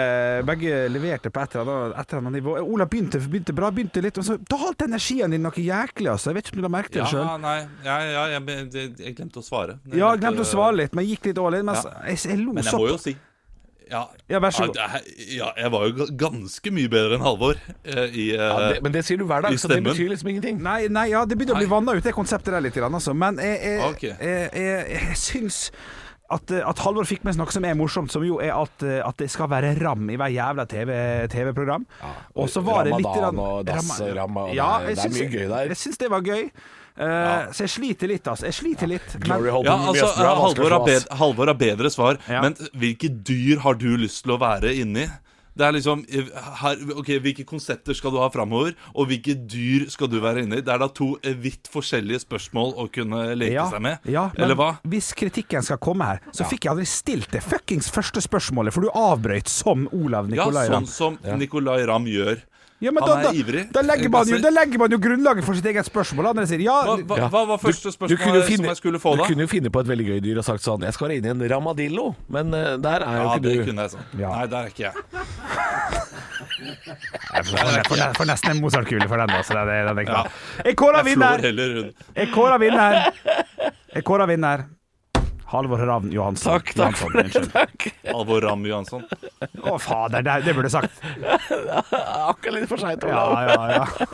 C: begge leverte på et eller annet- et eller annet nivå. Ola begynte, begynte bra, begynte litt, men så dalte energien din noe jæklig, altså. Jeg vet ikke om du la merke til det sjøl.
D: nei, ja, ja, jeg, jeg, jeg glemte å svare. Jeg
C: Ja, jeg glemte å svare litt, men gikk litt all in. Mens
D: Ja.
C: jeg, jeg lo
D: Men jeg må
C: såpass.
D: jo si ja,
C: Ja, vær så god.
D: Ja, det er- ja, jeg var jo ga- ganske mye bedre enn Halvor eh, i eh,
E: Ja, det, men det sier du hver dag,
D: I
E: så det
D: stemmen.
E: betyr liksom ingenting.
C: Nei, nei, ja, det begynner å bli
D: Nei.
C: vanna ut, det konseptet der, litt, grann, altså. Men jeg, jeg,
D: Ok.
C: jeg, jeg, jeg, syns at, eh, at Halvor fikk med seg noe som er morsomt, som jo er at, eh, at det skal være ram i hver jævla TV TV-program. og så var det litt
E: Ramadan
C: grann-
E: og dass og
C: Rama-
E: ramma, og
C: ja,
E: det-
C: jeg
E: det er
C: syns-
E: mye gøy der.
C: Jeg syns det var gøy. Eh, Så jeg sliter litt, altså. Jeg sliter litt.
E: Glory hole
D: Ja,
E: på Mjøsbrua
D: altså,
E: er vanskelig å
D: Halvor har,
E: slå, ass.
D: bedre, Halvor har bedre svar, men hvilke dyr har du lyst til å være inni? Det er liksom her, Ok, Hvilke konsepter skal du ha framover, og hvilke dyr skal du være inni? Det er da to eh, vidt forskjellige spørsmål å kunne leke
C: Ja,
D: seg med.
C: ja, men
D: Eller hva?
C: Hvis kritikken skal komme her, så fikk jeg aldri stilt det fuckings første spørsmålet, for du avbrøt som Olav Nikolai.
D: Ja, sånn som Nicolay Ramm gjør.
C: Ja, men
D: Han
C: da, da,
D: er ivrig. Altså,
C: da, legger man jo, da legger man jo grunnlaget for sitt eget spørsmål. da, når jeg sier ja,
D: Hva, hva,
E: Ja.
D: hva var første
E: Du kunne, jo
D: spørsmål som
E: finne,
D: jeg skulle få,
E: du
D: da?
E: kunne jo finne på et veldig gøy dyr og sagt sånn Jeg skal være inne i en ramadillo, men eh, der er jo
D: Ja, det
E: ikke du.
D: kunne jeg sånn.
C: Ja.
D: Nei, der er ikke jeg.
C: Jeg får, jeg får nesten en Mozart-kule for den. Altså, den, er- den er klar. Jeg kårer
D: Jeg slår
C: vinner!
D: heller rundt.
C: Jeg kårer vinner! Jeg kårer vinner. Halvor Ravn Johansson.
E: Takk, takk for det.
C: Johansson, unnskyld.
E: Takk.
D: Alvor Ramm Johansson.
C: Å, fader, det, det burde jeg sagt.
E: Akkurat litt for seint,
C: Ja,
E: Olav.
C: ja, ja.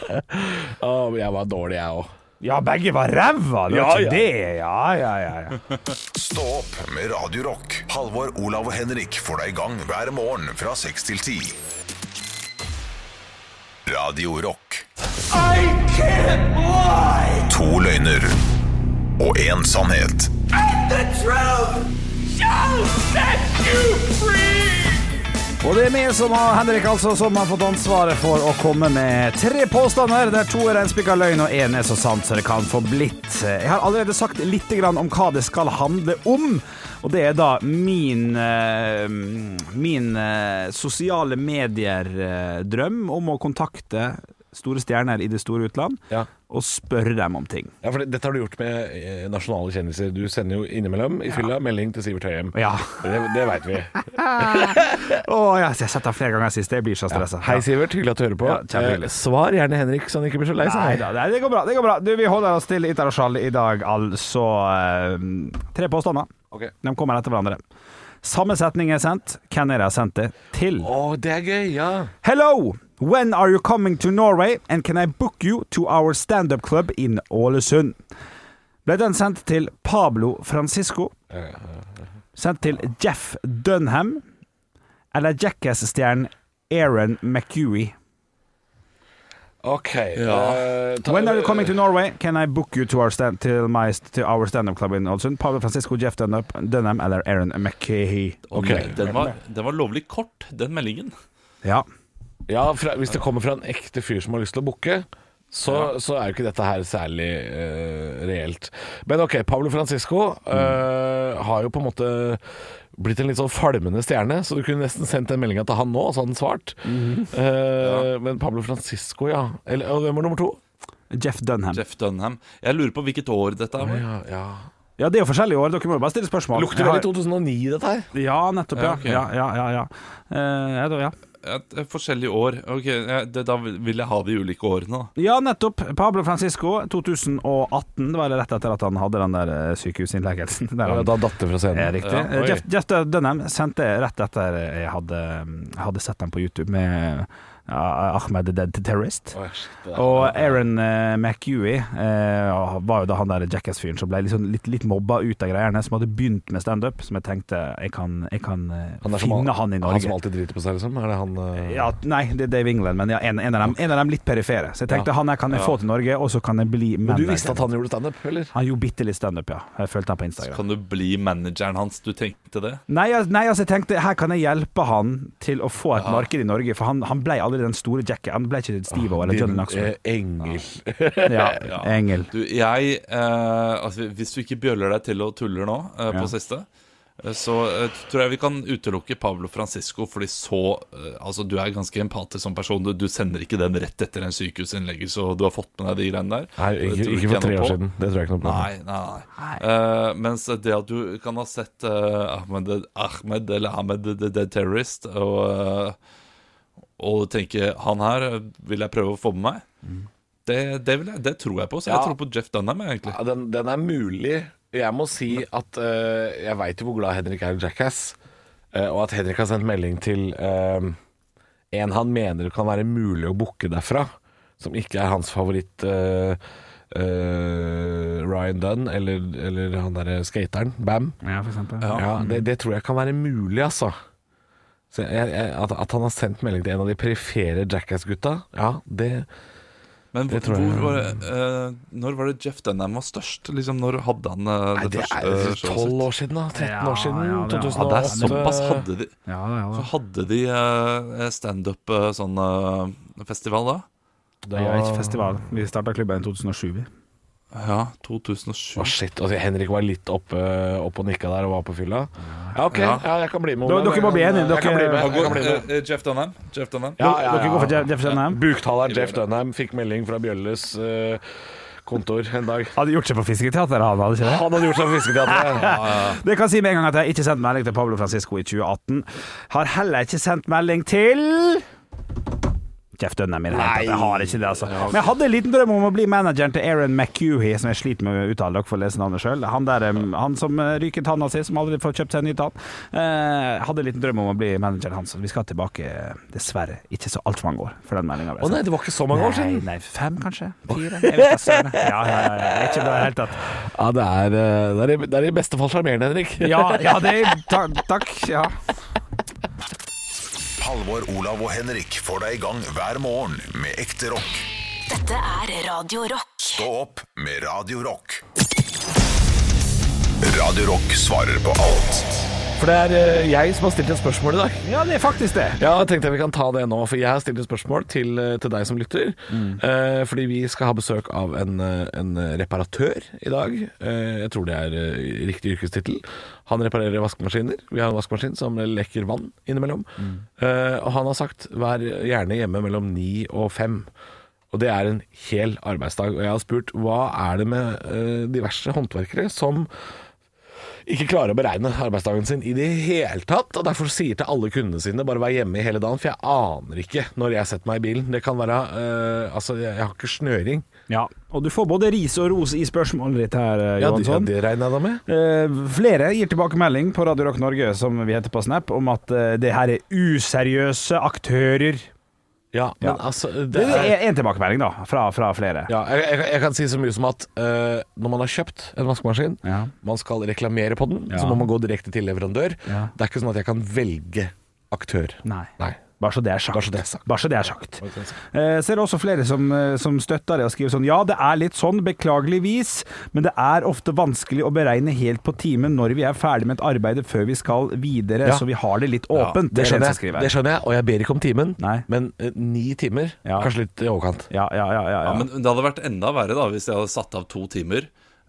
E: Å, men jeg var dårlig, jeg òg.
C: Ja, begge var ræva! Det var
E: Ja,
C: ikke
E: ja.
C: det. Ja, ja, ja. ja.
A: Stå opp med Radio Rock. Halvor, Olav og Henrik får deg i gang hver morgen fra 6 til 10. Radio Rock. To løgner og én sannhet.
C: Og det er meg som har Henrik altså som har fått ansvaret for å komme med tre påstander, der to er reinspikka løgn og én er så sant så det kan få blitt. Jeg har allerede sagt litt grann om hva det skal handle om, og det er da min eh, min eh, sosiale medier-drøm om å kontakte store stjerner i det store utland
E: Ja.
C: og spørre dem om ting.
E: Ja, for det- Dette har du gjort med eh, nasjonale kjendiser. Du sender jo innimellom i fylla melding til Sivert Høyem.
C: Ja.
E: Det, det veit vi.
C: Å, jeg har sett det flere ganger sist. Jeg blir så stressa.
E: Hei, Sivert. Hyggelig at du hører på.
C: Ja, kjempehyggelig.
E: Eh, Svar gjerne Henrik, så han ikke blir så lei
C: Nei
E: seg.
C: da, nei, det går bra. det går bra Du, Vi holder oss til internasjonal i dag, altså. eh, Tre påstander.
E: Ok.
C: De kommer etter hverandre. Samme setning er sendt. Hvem er det jeg har sendt det til?
E: Å, det er gøy, ja.
C: Hello! When are you coming to Norway, and can I book you to our stand-up club in Ålesund? Ble den sendt til Pablo Francisco? Sendt til Jeff Dunham? Eller Jackass-stjernen Aaron McEwie?
E: Ok.
D: Ja.
E: eh, ta-
C: When are you coming to Norway? Can I book you to our stand til my to our stand-up club in Ålesund? Pablo Francisco, Jeff Dunham, Dunham eller Aaron McKay.
E: Ok.
D: Den, var, den var lovlig kort, den meldingen.
C: Ja.
E: Ja, fra, hvis det kommer fra en ekte fyr som har lyst til å booke, så, så er jo ikke dette her særlig eh, reelt. Men ok, Pablo Francisco eh,
C: Mm.
E: har jo på en måte blitt en litt sånn falmende stjerne, så du kunne nesten sendt den meldinga til han nå, og så hadde han svart.
C: Mhm.
E: Eh, Men Pablo Francisco, ja. Eller, og hvem var nummer to?
C: Jeff Dunham.
D: Jeff Dunham. Jeg lurer på hvilket år dette er.
E: Ja, ja.
C: Ja, det er jo forskjellige år. Dere må jo bare stille spørsmål.
E: Lukter
C: Jeg har-
E: veldig 2009, dette her.
C: Ja, nettopp, ja.
D: Ja, ok.
C: Ja, ja, ja, ja. Eh, ja, da, ja.
D: Et, et forskjellige år. Ok, ja, det, Da vil jeg ha de ulike årene, da.
C: ja, nettopp. Pablo Francisco, 2018. Det var rett etter at han hadde den der eh, sykehusinnleggelsen. Der han-
E: Da datt det
C: Eh,
E: fra scenen.
C: Riktig.
D: Ja,
C: Eh,
E: oi.
C: Jeff, Jeff Dunham sendte rett etter jeg hadde, hadde sett dem på YouTube med ja, Ahmed the Dead Terrorist. Og Aaron eh, McEwie eh, var jo da han der Jackass-fyren som ble liksom litt, litt mobba ut av greiene, som hadde begynt med standup, som jeg tenkte jeg kan, jeg kan eh,
E: Han er som
C: finne
E: al-
C: han i
E: Han som
C: Norge.
E: alltid driter på seg, liksom? Er det han eh,
C: Ja, nei, det er Dave England, men ja, en, en, av dem, en av dem litt perifere. Så jeg tenkte han her kan jeg få til Norge, og så kan jeg bli
E: Men du
C: manager.
E: visste at han gjorde standup, eller?
C: Han gjorde bitte litt standup, ja. Jeg fulgte han på Instagram.
D: Kan du bli manageren hans? Du tenkte det?
C: Nei, al- nei, altså jeg tenkte her kan jeg hjelpe han til å få et marked i Norge, for han, han ble aldri den store Jackie. Han ble ikke Steve-O eller Johnny
E: Din
C: Knoxville.
E: eh, engel.
C: Ah, Ja, Engel.
D: Du, jeg eh, altså, Hvis du ikke bjøller deg til og tuller nå, eh, på
C: Ja.
D: siste, eh, så eh, tror jeg vi kan utelukke Pablo Francisco, fordi så eh, Altså, du er ganske empatisk som person. Du, du sender ikke den rett etter en sykehusinnleggelse, og du har fått med deg de greiene der.
E: Nei,
D: Det
E: ikke,
D: tror jeg
E: ikke for
D: jeg
E: tre
D: noe
E: år
D: på.
E: siden. Det tror jeg ikke noe på.
D: Nei, nei, nei. Eh, mens det at du kan ha sett eh, Ahmed, Ahmed eller Ahmed the, the, the Terrorist og, eh, og tenke han her eh, vil jeg prøve å få med meg, det, det, vil jeg, det tror jeg på. Så jeg
E: Mm. Ja.
D: tror på Jeff Dunham, jeg, egentlig.
E: Ja, den, den er mulig. Jeg må si at eh, jeg veit jo hvor glad Henrik er i Jackass, eh, og at Henrik har sendt melding til eh, en han mener kan være mulig å booke derfra, som ikke er hans favoritt eh, eh, Brian Dunn eller, eller han derre skateren, Bam.
C: Ja, for eksempel.
E: Ja. det, det tror jeg kan være mulig, altså. Så jeg, jeg, at, at han har sendt melding til en av de perifere Jackass-gutta, ja, det
D: Men
E: Det
D: hvor,
E: tror jeg-
D: hvor var det, eh, når var det Jeff Denham var størst? Liksom, Når hadde han eh,
E: Nei, det
D: første
E: er
D: showet sitt?
E: 12 år siden, da. 13 år siden.
C: Ja, ja, det er-
D: Ja, det er
E: 2008.
D: såpass hadde de
C: Ja, da, ja,
D: Så
C: da.
D: hadde de eh, standup eh, sånn eh, festival da?
C: Vi er ikke festival. Vi starta klubben i 2007, vi.
D: Ja, 2007
E: Å, shit, altså, Henrik var litt oppe opp og nikka der og var på fylla. Ja, OK, ja.
D: Ja.
E: jeg kan bli med.
C: Dere-
E: Olav.
C: dere må bli
E: Jeg kan-
C: enige,
E: Jeg kan
C: dere-
E: bli med. Jeg kan bli med.
D: Eh, eh, Jeff Dunham? Jeff Dunham?
E: Ja, ja,
C: Dere går for
E: ja.
C: Jeff- Jeff Dunham?
E: Buktaleren Jeff Dunham fikk melding fra Bjølles eh, kontor en dag.
C: Hadde gjort seg på Fisketeatret, han hadde ikke det?
E: Han hadde gjort seg på Fisketeatret.
C: Det kan si med en gang at jeg ikke sendte melding til Pablo Francisco i 2018. Har heller ikke sendt melding til Jeff Dunham i det hele tatt. Jeg har ikke det, altså. Men jeg hadde en liten drøm om å bli manageren til Aaron McEwhey, som jeg sliter med å uttale. Dere får lese navnet sjøl. Han, der, um, han som eh, ryker tanna si, som aldri får kjøpt seg en ny tann. Eh, hadde en liten drøm om å bli manageren hans. Vi skal tilbake, eh, dessverre, ikke så altfor mange år for den meldinga.
E: Å nei, det var ikke så mange år siden.
C: Nei, nei, fem kanskje? Fire? Jeg vet ikke, søren. Ja, ja, ja, ja. Ikke det i det hele tatt.
E: Ja, det er, eh, det er, i- det er i beste fall sjarmerende, Henrik.
C: Ja, ja det ta, Takk. Ja.
A: Halvor, Olav og Henrik får deg i gang hver morgen med ekte rock.
B: Dette er Radio Rock.
A: Stå opp med Radio Rock. Radio Rock svarer på alt.
E: For det er eh, jeg som har stilt et spørsmål i dag.
C: ja, det er faktisk det.
E: Ja, jeg tenkte vi kan ta det nå, for jeg har stilt et spørsmål til, til deg som lytter. Eh, fordi vi skal ha besøk av en, eh, en reparatør i dag. Eh, jeg tror det er eh, riktig yrkestittel. Han reparerer vaskemaskiner. Vi har en vaskemaskin som lekker vann innimellom. Eh, og han har sagt 'vær gjerne hjemme mellom ni og fem'. Og det er en hel arbeidsdag. Og jeg har spurt hva er det med eh, diverse håndverkere som ikke klarer å beregne arbeidsdagen sin i det hele tatt, og derfor sier til alle kundene sine bare vær hjemme i hele dagen, for jeg aner ikke når jeg setter meg i bilen. Det kan være eh, Altså, jeg, jeg har ikke snøring.
C: Ja, og du får både ris og ros i spørsmålet ditt her, eh, Johansson.
E: det regner jeg da med.
C: Eh, flere gir tilbakemelding på Radio Rock Norge, som vi heter på Snap, om at eh, det her er useriøse aktører.
E: Ja, men
C: Ja.
E: altså
C: Det
E: det
C: er
E: er,
C: én tilbakemelding, da, fra, fra flere.
E: ja, jeg, jeg, jeg kan si så mye som at eh, når man har kjøpt en vaskemaskin,
C: Ja.
E: man skal reklamere på den, så
C: Ja.
E: må man gå direkte til leverandør.
C: Ja.
E: Det er ikke sånn at jeg kan velge aktør.
C: Nei.
E: Nei.
C: Bare så det er sagt.
E: Bare så det er sagt.
C: Bare så det er sagt. Eh, så er det også flere som, eh, som støtter det og skriver sånn Ja, det er litt sånn, beklageligvis, men det er ofte vanskelig å beregne helt på timen når vi er ferdig med et arbeid før vi skal videre,
E: Ja.
C: så vi har det litt åpent.
E: Det
C: er en
E: skjønner,
C: som
E: jeg,
C: skriver.
E: det skjønner jeg, og jeg ber ikke om timen,
C: Nei.
E: men eh, ni timer,
C: Ja.
E: kanskje litt i overkant.
C: Ja, ja, ja, ja, ja.
D: Ja, men det hadde vært enda verre da hvis jeg hadde satt av to timer.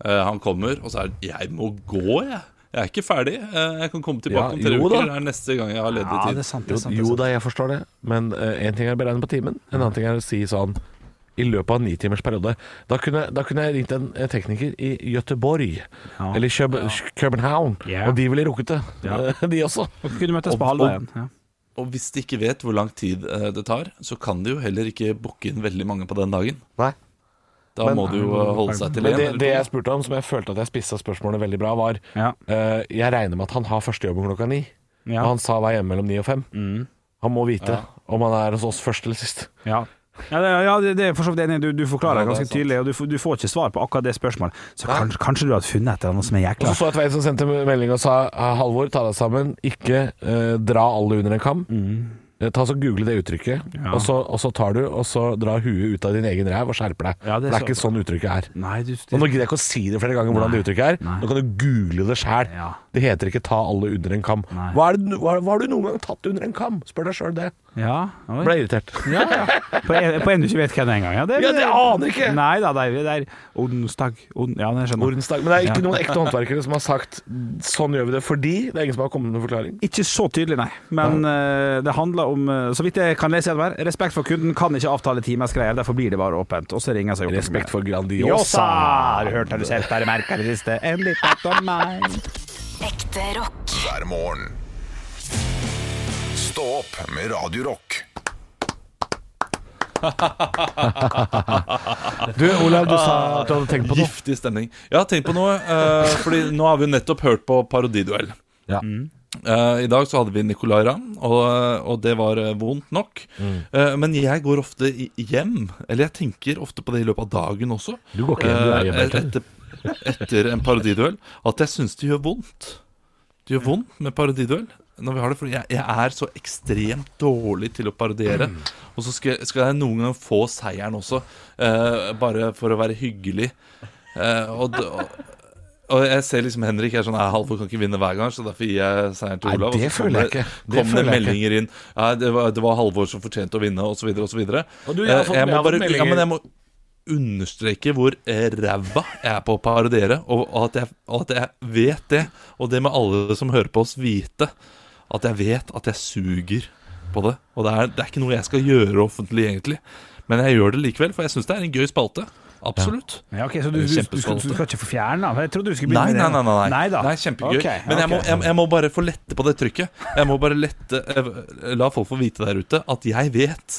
D: Eh, han kommer, og så er det Jeg må gå, jeg. Jeg er ikke ferdig. Eh, jeg kan komme tilbake
E: Ja,
D: om tre
E: jo
D: uker.
E: da.
D: Det er neste gang jeg har ledig
C: Ja,
D: tid.
C: det er sant, det
E: Jo,
C: er sant. det er
E: jo
C: sant.
E: da, jeg forstår det, men én ting er å beregne på timen, en annen ting er å si sånn i løpet av en nitimersperiode. Da, kunne- da kunne jeg ringt en eh, tekniker i Göteborg
C: Ja.
E: eller Kjøb København,
C: Ja.
E: og de ville rukket det,
C: Ja.
E: de også.
C: Og kunne møttes
D: Og-
C: på halv
D: og-
C: igjen. Ja.
D: Og hvis de ikke vet hvor lang tid eh, det tar, så kan de jo heller ikke booke inn veldig mange på den dagen.
E: Nei.
D: Da
E: Men-
D: må de jo eh, holde seg til
E: Men
D: én.
E: det,
D: eller
E: det
D: to.
E: jeg spurte om, som jeg følte at jeg spissa spørsmålet veldig bra, var
C: Ja.
E: eh, Jeg regner med at han har første jobben klokka ni,
C: Ja. Mm.
E: og han sa vær hjemme mellom ni og fem. Han må vite om han er hos oss først eller sist.
C: Ja. Ja, det, ja, det- det er for så vidt enig. Du, du forklarer
D: Ja, det er
C: ganske
D: sant.
C: tydelig, og du, får- du får ikke svar på akkurat det spørsmålet. Så kanskje, kanskje du hadde funnet et eller annet som er
E: Og
C: jækla
E: så så jeg Tveit som sendte melding og sa Halvor, ta deg sammen, ikke eh, dra alle under en kam. Eh, Ta så Google det uttrykket, og, så, og så tar du og så drar huet ut av din egen ræv og skjerper deg.
C: Ja, det
E: det,
C: er
E: er
C: så-
E: ikke sånn uttrykket er.
C: Nei, du det-
E: Og Nå gidder jeg ikke å si det flere ganger hvordan
C: Nei.
E: det uttrykket er.
C: Nei.
E: Nå kan du google det sjæl.
C: Ja.
E: Det heter ikke 'ta alle under en kam'.
C: Nei.
E: Hva, er det, hva, hva har du noen gang tatt under en kam? Spør deg sjøl det.
C: Ja, oi.
E: Ble irritert.
C: ja, ja. På, en, på en du ikke vet hvem det er engang. Ja, det,
E: Ja, det aner jeg ikke.
C: Nei da, det er, det er onsdag on, Ja, jeg skjønner.
E: Ordensdag. Men det er ikke
C: Ja.
E: noen ekte håndverkere som har sagt 'sånn gjør vi det' fordi det er ingen som har kommet med noen forklaring.
C: Ikke så tydelig, nei. Men eh, det handler om eh, Så vidt jeg kan lese gjennom her. Respekt for kunden kan ikke avtale timers greier, derfor blir det bare åpent. Og så ringer seg opp.
E: Respekt for
C: Jossa!
E: Grandiosa.
C: Har du hørt, har du sett, har du merka det siste? En liten takk om meg.
B: Ekte rock.
A: hver morgen. Stå opp med Radio Rock.
E: Du, Olav, du sa at du hadde tenkt på noe.
D: Giftig stemning. Ja, tenk på noe. eh, fordi nå har vi jo nettopp hørt på parodiduell.
E: Ja.
D: Eh, I dag så hadde vi Nicolay Ramm, og, og det var eh, vondt nok. Eh, men jeg går ofte i- hjem, eller jeg tenker ofte på det i løpet av dagen også.
E: Du går ikke hjem, du er hjemme hele
D: Eh, etter, etter en parodiduell at jeg syns det gjør vondt. Det gjør vondt med parodiduell. Når vi har det, fordi jeg, jeg er så ekstremt dårlig til å parodiere. Og så skal, skal jeg noen ganger få seieren også, eh, bare for å være hyggelig. Eh, og, d- og, og jeg ser liksom Henrik er sånn «Nei, Halvor kan ikke vinne hver gang, så derfor gir jeg seieren til
E: Nei,
D: Olav.
E: det
D: og så
E: føler jeg
D: kommer-
E: ikke. Det
D: kommer det
E: føler jeg ikke.
D: meldinger inn. Ja, det, var, det var Halvor som fortjente å vinne, osv. osv.
E: Og du, jeg har fått- jeg har fått meldinger.
D: Ja, men Eh, jeg må understreke hvor eh, ræva jeg er på å parodiere, og at jeg, og at jeg vet det. Og det må alle som hører på oss vite, at jeg vet at jeg suger på det. Og det er, det er ikke noe jeg skal gjøre offentlig, egentlig. Men jeg gjør det likevel, for jeg syns det er en gøy spalte. Absolutt.
C: Ja, ok, Så du, du, du, du, skal, du skal ikke få fjerne den? Jeg trodde du skulle
D: Nei,
C: begynne
D: nei, nei.
C: med det.
D: nei, nei.
C: da.
D: Det er kjempegøy.
C: Ok,
D: Men jeg må,
C: ok.
D: jeg, jeg må bare få lette på det trykket. Jeg må bare lette eh, La folk få vite der ute at jeg vet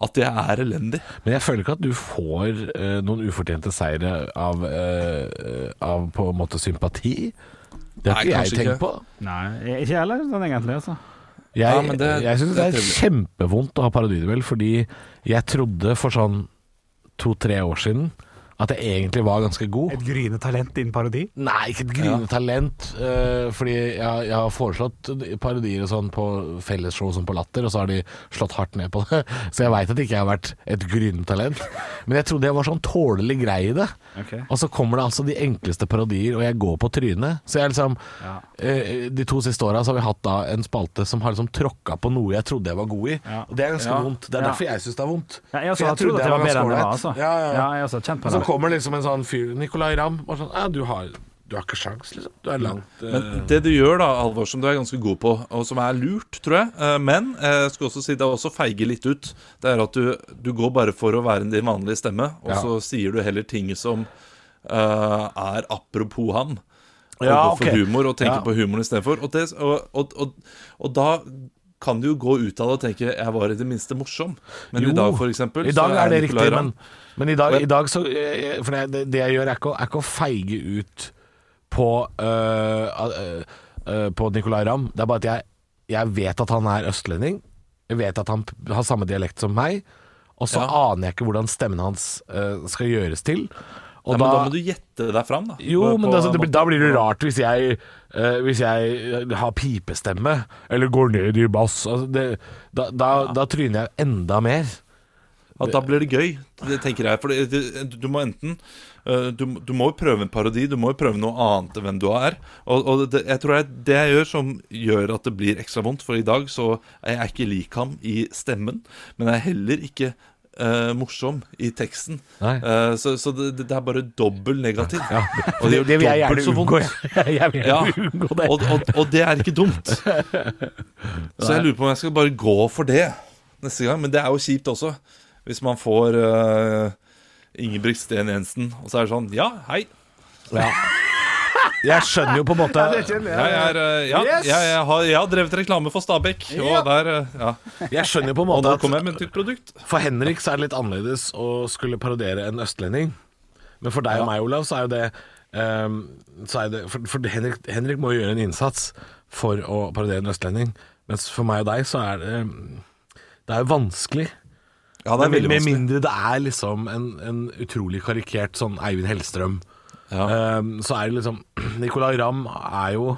D: at jeg er elendig.
E: Men jeg føler ikke at du får eh, noen ufortjente seire av, eh, av på en måte sympati. Det har
D: Nei,
E: ikke jeg
D: kanskje
E: tenkt
D: ikke.
E: på.
C: Nei, ikke jeg heller, sånn egentlig. altså
E: Jeg,
D: Ja, men det-
E: jeg syns
D: det
E: det
D: er
E: er kjempevondt å ha parodiduell, fordi jeg trodde for sånn to-tre år siden at jeg egentlig var ganske god.
C: Et gryende talent innen parodi?
E: Nei, ikke et gryende talent. eh, fordi jeg, jeg har foreslått parodier og sånn på fellesshow som på Latter, og så har de slått hardt ned på det. Så jeg veit at ikke jeg har vært et gryende talent. Men jeg trodde jeg var sånn tålelig grei i det.
C: Ok.
E: Og så kommer det altså de enkleste parodier, og jeg går på trynet. Så jeg liksom eh, De to siste åra har vi hatt da en spalte som har liksom tråkka på noe jeg trodde jeg var god i. Og det er ganske
C: Ja.
E: vondt. Det er
C: Ja.
E: derfor jeg syns det er vondt.
C: Ja, jeg også
E: For
C: har trodd at jeg var bedre enn jeg var,
E: ganske
C: altså.
E: ålreit. Ja, ja, ja.
C: jeg også har kjent på
E: Og så
C: det.
E: kommer liksom en sånn fyr, Nicolay Ramm, og sånn Ja, du har, du har ikke sjans, liksom. Du er langt eh,
D: Men det du gjør, da, Alvor, som du er ganske god på, og som er lurt, tror jeg eh, Men eh, jeg skulle også si det er også feiger litt ut. Det er at du, du går bare for å være din vanlige stemme, og
E: Ja.
D: så sier du heller ting som eh, er apropos ham. Og
E: Ja,
D: går for
E: ok.
D: humor og tenker
E: Ja.
D: på humoren istedenfor. Og, det- og, og, og, og da kan du jo gå ut av det og tenke 'jeg var i det minste morsom'. Men
E: Jo,
D: i dag, for eksempel,
E: I dag
D: så
E: er det
D: Nicolai
E: riktig,
D: Ramm-
E: men, men i, dag,
D: Men-
E: i dag så eh, For det, det jeg gjør, er ikke, å- er ikke å feige ut på øh, øh, øh, På Nicolay Ramm. Det er bare at jeg, jeg vet at han er østlending. Jeg vet at han p- har samme dialekt som meg. Og så
D: Ja.
E: aner jeg ikke hvordan stemmen hans øh, skal gjøres til. Og
D: ja, men da må du gjette deg fram, da.
E: jo,
D: På-
E: men
D: på
E: altså, det,
D: en
E: blir-
D: måte.
E: da blir det rart hvis jeg, eh, hvis jeg har pipestemme, eller går ned i bass. Altså, det, da, da, da tryner jeg enda mer.
D: At da blir det gøy, det tenker jeg. For det, det, du må enten øh, du, du må jo prøve en parodi, du må jo prøve noe annet enn hvem du er. Og, og det, jeg tror jeg, det jeg gjør som gjør at det blir ekstra vondt, for i dag så er jeg ikke lik ham i stemmen, men jeg er heller ikke øh, morsom i teksten.
E: Nei.
D: Eh, så så det, det er bare dobbel negativ.
E: Ja,
D: Og det gjør
E: det vil jeg gjerne
D: dobbelt så
E: unngå.
D: vondt.
E: Jeg, jeg vil
D: Ja,
E: gjerne unngå det.
D: og, og, og det er ikke dumt. Så jeg lurer på om jeg skal bare gå for det neste gang. Men det er jo kjipt også, hvis man får eh, Ingebrigt Sten Jensen, og så er det sånn Ja, hei.
E: Jeg skjønner jo på en måte
D: Jeg, er, eh, ja,
C: Yes!
D: jeg, jeg, har, jeg har drevet reklame for Stabæk, og der eh, ja.
E: Jeg skjønner jo på en
D: Og
E: måte
D: da kom
E: at
D: jeg med et nytt produkt.
E: For Henrik så er det litt annerledes å skulle parodiere en østlending. Men for deg og meg, Olav, så er jo det, ehm, så er det For, for Henrik, Henrik må jo gjøre en innsats for å parodiere en østlending. Mens for meg og deg så er det ehm, Det er jo vanskelig.
D: Ja,
E: Men Med mindre det er liksom en, en utrolig karikert sånn Eivind Hellstrøm.
D: Ja.
E: Ehm, så er det liksom Nicolay Ramm er jo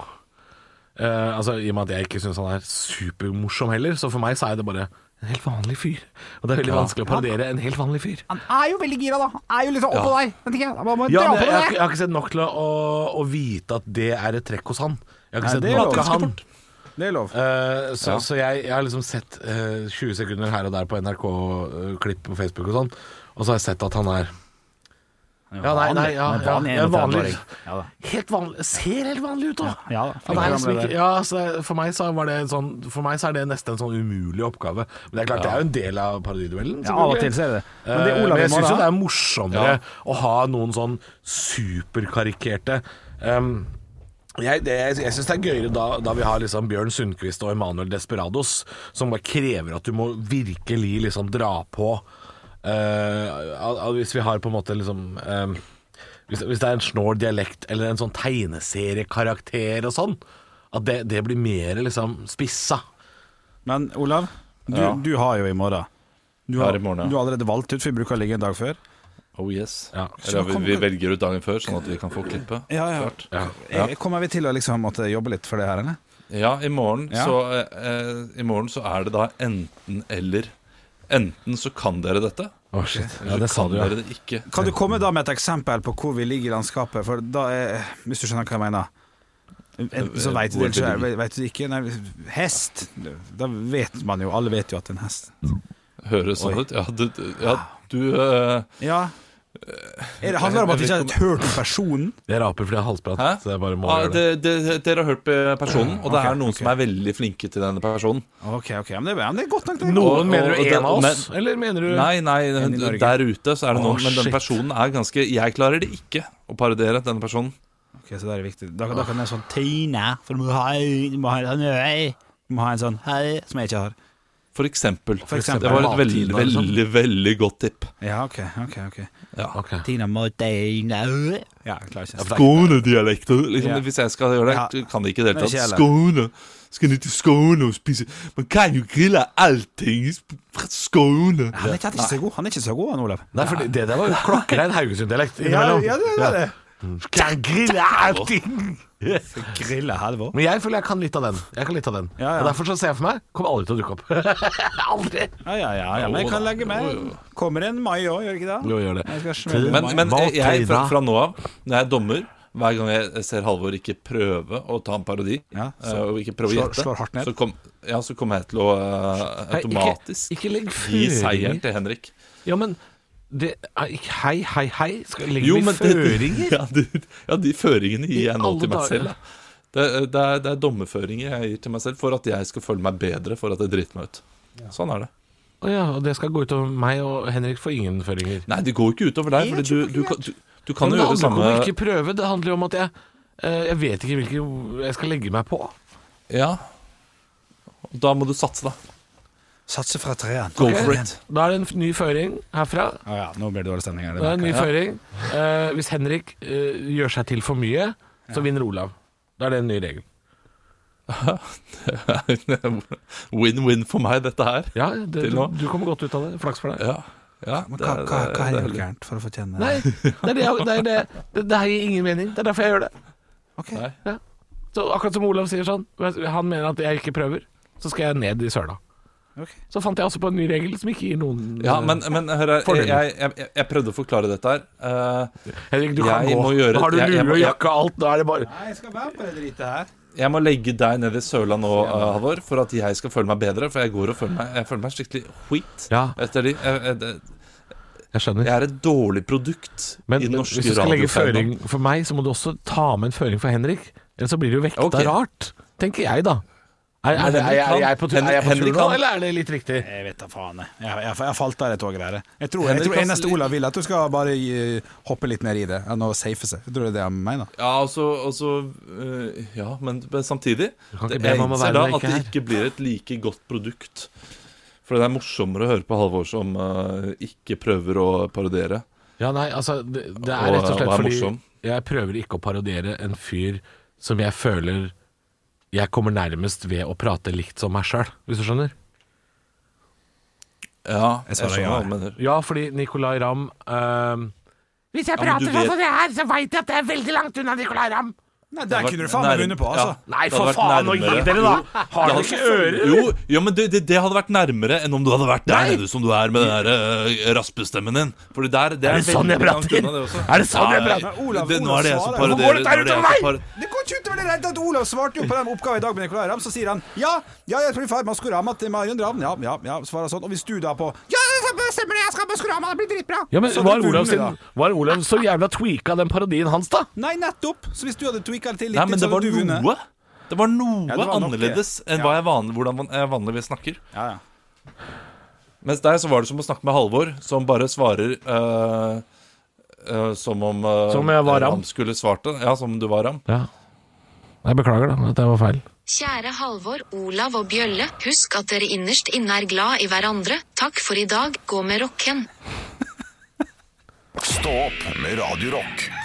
E: eh, Altså I og med at jeg ikke syns han er supermorsom heller, så for meg så er det bare en helt vanlig fyr. Og det er veldig vanskelig å parodiere en helt vanlig fyr.
C: Han er jo veldig gira, da. Han er jo liksom oppå deg. Men tenker jeg, da må man
E: Ja,
C: dra
E: men jeg,
C: på
E: har, ikke-
C: det.
E: jeg har ikke sett nok til å, å, å vite at det er et trekk hos han.
C: Nei,
E: Jeg har ikke
C: det er
E: sett nok
C: jo
E: av han.
C: Det er lov.
E: Eh, så så jeg, jeg har liksom sett eh, 20 sekunder her og der på NRK-klipp på Facebook og sånn, og så har jeg sett at han er Ja, nei, nei, ja, ja,
C: vanlig
E: ja, vanlig.
C: 31-åring. Ja da.
E: Helt vanlig Ser helt vanlig ut, da!
C: Ja, da.
E: Han er liksom
C: Gamle
E: ikke,
C: der.
E: ja, så det- for, meg så var det en sånn, for meg så er det nesten en sånn umulig oppgave. Men det er klart, det er jo en del av parodiduellen.
C: Ja, av og til så er det det. Men det
E: Eh,
C: Olav
E: Men jeg
C: må
E: syns jo det
C: da
E: er morsommere å ha noen sånn superkarikerte ehm, jeg, det, jeg, jeg syns det er gøyere da, da vi har liksom Bjørn Sundquist og Emanuel Desperados, som bare krever at du må virkelig liksom dra på. Eh, al- al- hvis vi har på en måte liksom ehm, hvis, hvis det er en snål dialekt eller en sånn tegneseriekarakter og sånn, at det, det blir mer liksom spissa.
C: Men Olav, du,
D: Ja.
C: du har jo i morgen. Du har,
D: Har i morgen, ja.
C: du har allerede valgt ut, for vi bruker å ligge en dag før.
D: Oh yes.
C: Så
D: Eller vi,
C: kom-
D: vi velger ut dagen før, sånn at vi kan få klippet.
C: Ja, ja.
D: Klart. Ja.
C: Eh, Kommer vi til å liksom måtte jobbe litt for det her, eller?
D: Ja, i morgen,
C: Ja.
D: Så, eh, eh, i morgen så er det da enten eller. Enten så kan dere dette,
E: Å, shit. Ja,
D: eller
E: det
D: så
E: sa
D: kan
E: du, ja.
D: dere det ikke.
C: Kan du komme da med et eksempel på hvor vi ligger i landskapet? For da er, Hvis du skjønner hva jeg mener.
D: Eh,
C: Enten så vet du det, eller så vet du det ikke. Nei, hest Da vet man jo, alle vet jo at det er en hest.
D: Høres sånn
C: Oi.
D: ut. Ja, du, du- ja, du eh,
C: Ja. Er det handler det om at vi ikke har hørt personen?
E: Jeg raper fordi jeg har halsprat.
D: Hæ?
E: Så jeg bare må
D: Ja,
E: gjøre det.
D: det, det, dere har hørt eh, personen, og det
C: Ok,
D: er noen som er veldig flinke til denne personen.
C: Ok, ok, men det, er- men det er godt nok, det.
D: Og-
H: Noen mener
D: og-
H: du
D: og
H: en
D: det-
H: av oss,
D: men-
H: eller mener du
D: Nei, nei,
C: i Norge.
D: der ute så er det
E: Å,
D: noen, men den
E: shit.
D: personen er ganske Jeg klarer det ikke å parodiere denne personen.
C: Ok, så det er viktig. Da, da kan jeg sånn Tine, for du må ha, du må ha en sånn «Hei», Du må ha en sånn hei som jeg ikke har.
D: For eksempel.
C: For eksempel.
D: Det var et veldig,
E: Mattimer,
D: veldig,
E: liksom.
D: veldig, godt tipp.
C: Ja, ok, ok. ok
D: Ja.
E: Ok.
C: Tina Martine Ja, jeg klarer ikke.
D: Skånedialekter. Liksom,
C: Ja.
D: Hvis jeg skal gjøre det,
C: Ja.
D: du kan det ikke i det hele
C: Det er ikke
D: tatt. Skåne. Skal ned til Skåne og spise Man kan jo grille allting fra Skåne.
C: Han er ikke han er ikke så god, han er ikke så god, han Olav.
E: Nei, for det, det der var jo klokkerein Haugesund-dialekt innimellom.
C: det.
E: Kan grille allting.
C: Grilla helvor.
E: Men jeg føler jeg kan litt av den. Jeg kan litt av den
C: Ja, ja.
E: Og Derfor så ser jeg for meg kommer aldri til å dukke opp. aldri!
C: Ja, ja, ja, ja, men jeg kan legge meg. Kommer en mai òg, gjør det ikke det?
E: Jo, gjør det.
C: Jeg skal smelle
D: Men,
C: meg.
D: men jeg, jeg, fra,
E: Martina.
D: fra nå av, når jeg er dommer hver gang jeg ser Halvor ikke prøve å ta en parodi,
C: Ja, så-
D: eh, og ikke prøve å
C: slår-
D: gjette,
C: slår hardt ned.
D: så, kom, ja, så kommer jeg til å eh,
E: Nei,
D: automatisk
E: Ikke, ikke legg
D: gi seieren
E: føringer.
D: til Henrik.
E: Ja, men det er ikke- Hei, hei, hei. Skal jeg legge
D: Jo,
E: vi
D: men det-
E: føringer?
D: Ja, de, ja, de føringene gir
E: I
D: jeg nå
E: alle
D: til meg
E: dager.
D: selv. da. Det, eh, det, er, det er dommerføringer jeg gir til meg selv for at jeg skal føle meg bedre, for at jeg driter meg ut. Sånn er det.
E: Å ja, og det skal gå utover meg og Henrik får ingen føringer.
D: Nei, det går jo ikke utover deg, Fordi du, du, kan- du, du kan
E: Men det
D: jo gjøre det
E: handler ikke
D: samme
E: om å ikke prøve, det handler jo om at jeg eh, Jeg vet ikke hvilke jeg skal legge meg på.
D: Ja. Og Da må du satse, da.
C: Satse fra treeren.
D: Go
C: Ok.
D: for it.
E: Da er det en f- ny føring herfra.
C: Ja, ja, nå blir det dårlig stemning her.
E: Det er en ny
C: merker jeg.
E: føring. Eh, hvis Henrik eh, gjør seg til for mye, så vinner Olav. Da er det en ny regel.
D: Win-win for meg, dette her.
E: Ja, det,
D: Til
E: du,
D: nå.
E: du kommer godt ut av det. Flaks for deg.
D: Ja. ja
C: Men
D: det
C: hva,
D: er-
C: hva, hva er
D: det er
C: det
D: litt-
C: gærent for å fortjene
E: Nei, det er det, jeg- det, er det, det, det her gir ingen mening. Det er derfor jeg gjør det.
C: Ok.
D: Nei.
E: Så akkurat som Olav sier sånn, han mener at jeg ikke prøver, så skal jeg ned i søla.
C: Ok.
E: Så fant jeg også på en ny regel som ikke gir noen
D: Ja, men, men hør her,
E: Fordeler.
D: jeg, jeg, jeg, jeg prøvde å forklare dette her. Eh,
E: Henrik, du kan
D: jeg
E: gå.
D: må gjøre-
E: Nå har du
D: jeg- jeg
E: lue
D: må-
E: og
D: jeg-
E: jakke og alt. Da er det bare
C: Nei, jeg skal være på det dritet her.
D: jeg må legge deg ned i søla nå, eh, Halvor, for at jeg skal føle meg bedre. For jeg går og føler meg Jeg føler meg skikkelig skit.
E: Ja.
D: Etter de, jeg, jeg, det-
E: Jeg skjønner.
D: jeg er et dårlig produkt
E: Men
D: i den norske
E: hvis du skal legge
D: radioferien.
E: føring for meg, så må du også ta med en føring for Henrik. Ellers så blir det jo vekta
D: Ok.
E: rart, tenker jeg da. Er, er, det- er,
D: Men Henrik
E: jeg- er jeg på,
D: kan-
E: tur- er jeg på tur
D: Henrik
E: nå,
D: kan-
E: eller er det litt riktig?
C: Jeg vet da faen. Jeg, jeg, jeg, jeg falt av det toget der. jeg. Jeg tror, jeg
D: Henrik
C: tror
D: Hansen-
C: eneste Olav vil, at du skal bare eh, hoppe litt ned i det. Enn å safe seg. Jeg tror det er det han mener.
D: Ja, og så og så, eh, Ja, men men samtidig
E: kan ikke
D: det-
E: be
D: Jeg
E: meg om å
D: innser
E: være
D: da
E: når
D: at
E: jeg
D: det
E: ikke
D: ikke blir et like godt produkt. For det er morsommere å høre på Halvor som eh, ikke prøver å parodiere.
E: Ja, nei, altså Det, det er
D: Og-
E: rett og slett
D: og er
E: fordi
D: morsom.
E: jeg prøver ikke å parodiere en fyr som jeg føler jeg kommer nærmest ved å prate likt som meg sjøl, hvis du skjønner?
D: Ja,
C: Jeg
D: jeg
C: svarer
D: skjønner
C: ja,
D: hva
C: jeg.
D: du mener.
E: Ja, fordi Nicolay Ramm ehm, Hvis jeg
D: Ja, men
E: prater
D: du
E: sånn
D: vet-
E: som det her, så veit jeg at det er veldig langt unna Nicolay Ramm.
C: Nei,
D: Det
C: Der
D: hadde
C: kunne
D: vært
C: du faen meg
D: nærm-
C: vunnet på,
D: ja.
C: altså.
E: Nei,
D: Det hadde
E: for
D: vært
E: faen, nå
D: nærmere.
E: gi dere, da! Har dere ikke ører?
D: Jo, jo men det, det, det hadde vært nærmere enn om du hadde vært der
E: Nei.
D: nede som du er med den der eh, raspestemmen din. Fordi der, det er,
E: Er det sånn jeg
D: veldig langt
E: prater?
D: unna, det også.
E: Er det sånn jeg
D: Nei,
E: prater?
C: Men Olav,
D: det, nå
C: Olav
D: er det jeg som
C: svarer.
D: parodierer.
E: Hvorfor går dette
D: nå er det
E: utover
D: jeg som
E: meg?
D: par-
C: Det går ikke utover det rett at Olav svarte jo på den oppgaven i dag med Nicolay Ramm, så sier han ja, ja, jeg tror far Maskorama til Marion Ravn, ja, ja, ja, svarer han sånn. Og hvis du da på ja, det stemmer det, jeg skal på Maskorama, det blir dritbra.
E: Ja, men
C: Så hadde
E: var
C: du
E: Olav,
C: vunnet,
E: sin,
C: da.
E: var Olav så jævla tweaka den parodien hans, da?
C: Nei, nettopp. Så hvis du hadde tweaka det til litt,
D: Nei, men
C: så
D: det var
C: hadde du vunnet.
D: noe. Det var noe
C: Ja, det var nok det.
D: annerledes enn
C: Ja.
D: hva jeg vanlig, hvordan man- jeg vanligvis snakker.
C: Ja, ja.
D: Mens der så var det som å snakke med Halvor, som bare svarer øh, øh, som om øh,
E: Som jeg var Ram.
D: skulle svart det. Ja, som om du var Ram.
E: Ja. Jeg beklager, da, at det var feil.
L: Kjære Halvor, Olav og Bjølle, husk at dere innerst inne er glad i hverandre. Takk for i dag, gå med rocken.
A: Stå opp med Radio Rock.